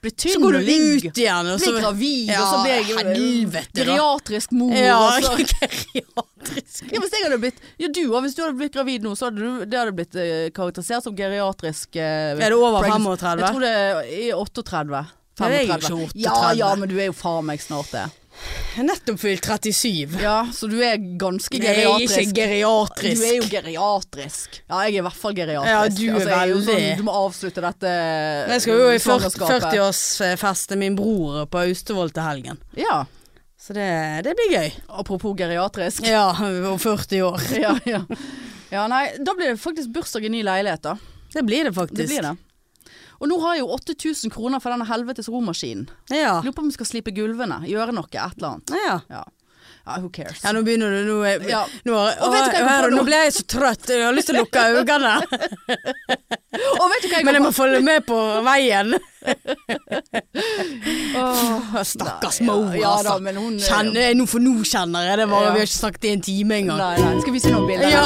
A: Blir
B: Så
A: tynn
B: går
A: og
B: du
A: ligger.
B: ut igjen, og så
A: Blir gravid,
B: Ja,
A: og så blir jeg
B: helvete, da.
A: geriatrisk mor.
B: Ja, *laughs*
A: og så- *laughs*
B: geriatrisk.
A: Ja, hvis jeg hadde blitt Ja, du òg. Hvis du hadde blitt gravid nå, så hadde du det hadde blitt eh, karakterisert som geriatrisk eh,
B: Er det over
A: pregnancy.
B: 35?
A: Jeg tror det er i 38.
B: Ja, det er jo
A: 35.
B: ikke
A: Ja,
B: 38.
A: ja, men du er jo faen meg snart det.
B: Jeg har nettopp fylt 37.
A: Ja, så du er ganske
B: Jeg er
A: geriatrisk.
B: ikke geriatrisk.
A: Du er jo geriatrisk. Ja, jeg er i hvert fall geriatrisk.
B: Ja, du er
A: jeg jo
B: veldig.
A: sånn, Du må avslutte dette
B: Men jeg skal jo i
A: svangerskapet.
B: 40-årsfest til min bror på Austevoll til helgen.
A: Ja,
B: Så det, det blir gøy.
A: apropos geriatrisk.
B: Ja, om 40 år.
A: *laughs* Ja, ja. ja, nei, da blir det faktisk bursdag i ny leilighet, da.
B: Det blir det faktisk.
A: Det blir det. Og nå har jeg jo 8000 kroner for denne helvetes romaskinen.
B: Ja.
A: Lurer på om vi skal slipe gulvene, gjøre noe, et eller annet.
B: ja.
A: Ja, ja who cares.
B: Ja, nå begynner du. Nå, er,
A: Ja.
B: nå, har-
A: Og vet du hva jeg kom
B: Å,
A: på nå?
B: nå ble jeg så trøtt. Jeg har lyst til å *laughs* lukke øynene.
A: Og vet du hva jeg
B: Men jeg
A: kom
B: må følge med på veien.
A: på? Åh,
B: Stakkars
A: Nei, ja,
B: mor,
A: ja da,
B: altså.
A: men hun- eh,
B: Kjenner- nå, for nå kjenner jeg det bare.
A: Ja.
B: Vi har ikke snakket i en time engang.
A: Nei, nei. Skal vi se noen bilder?
B: Ja.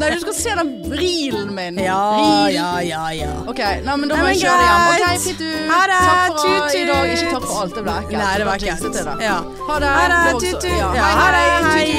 A: Nei, du skal se den reelen min.
B: Ja,
A: Reelen.
B: Ah, ja, ja, ja.
A: Ok, nei, men da
B: Nei,
A: må
B: men
A: jeg kjøre hjem. Ok,
B: greit.
A: Pittu.
B: Ha det,
A: Takk for
B: tut,
A: i dag.
B: tut.
A: Ikke takk for alt, det ble ekkelt.
B: Nei, det var
A: Jeg
B: ekkelt.
A: jinxet det, da.
B: Ja.
A: Ha det.
B: Ha det,
A: var også-
B: tut, tut.
A: Ja,
B: Ja,
A: hei,
B: ha det,
A: hei.
B: hei.
A: Tut, tut.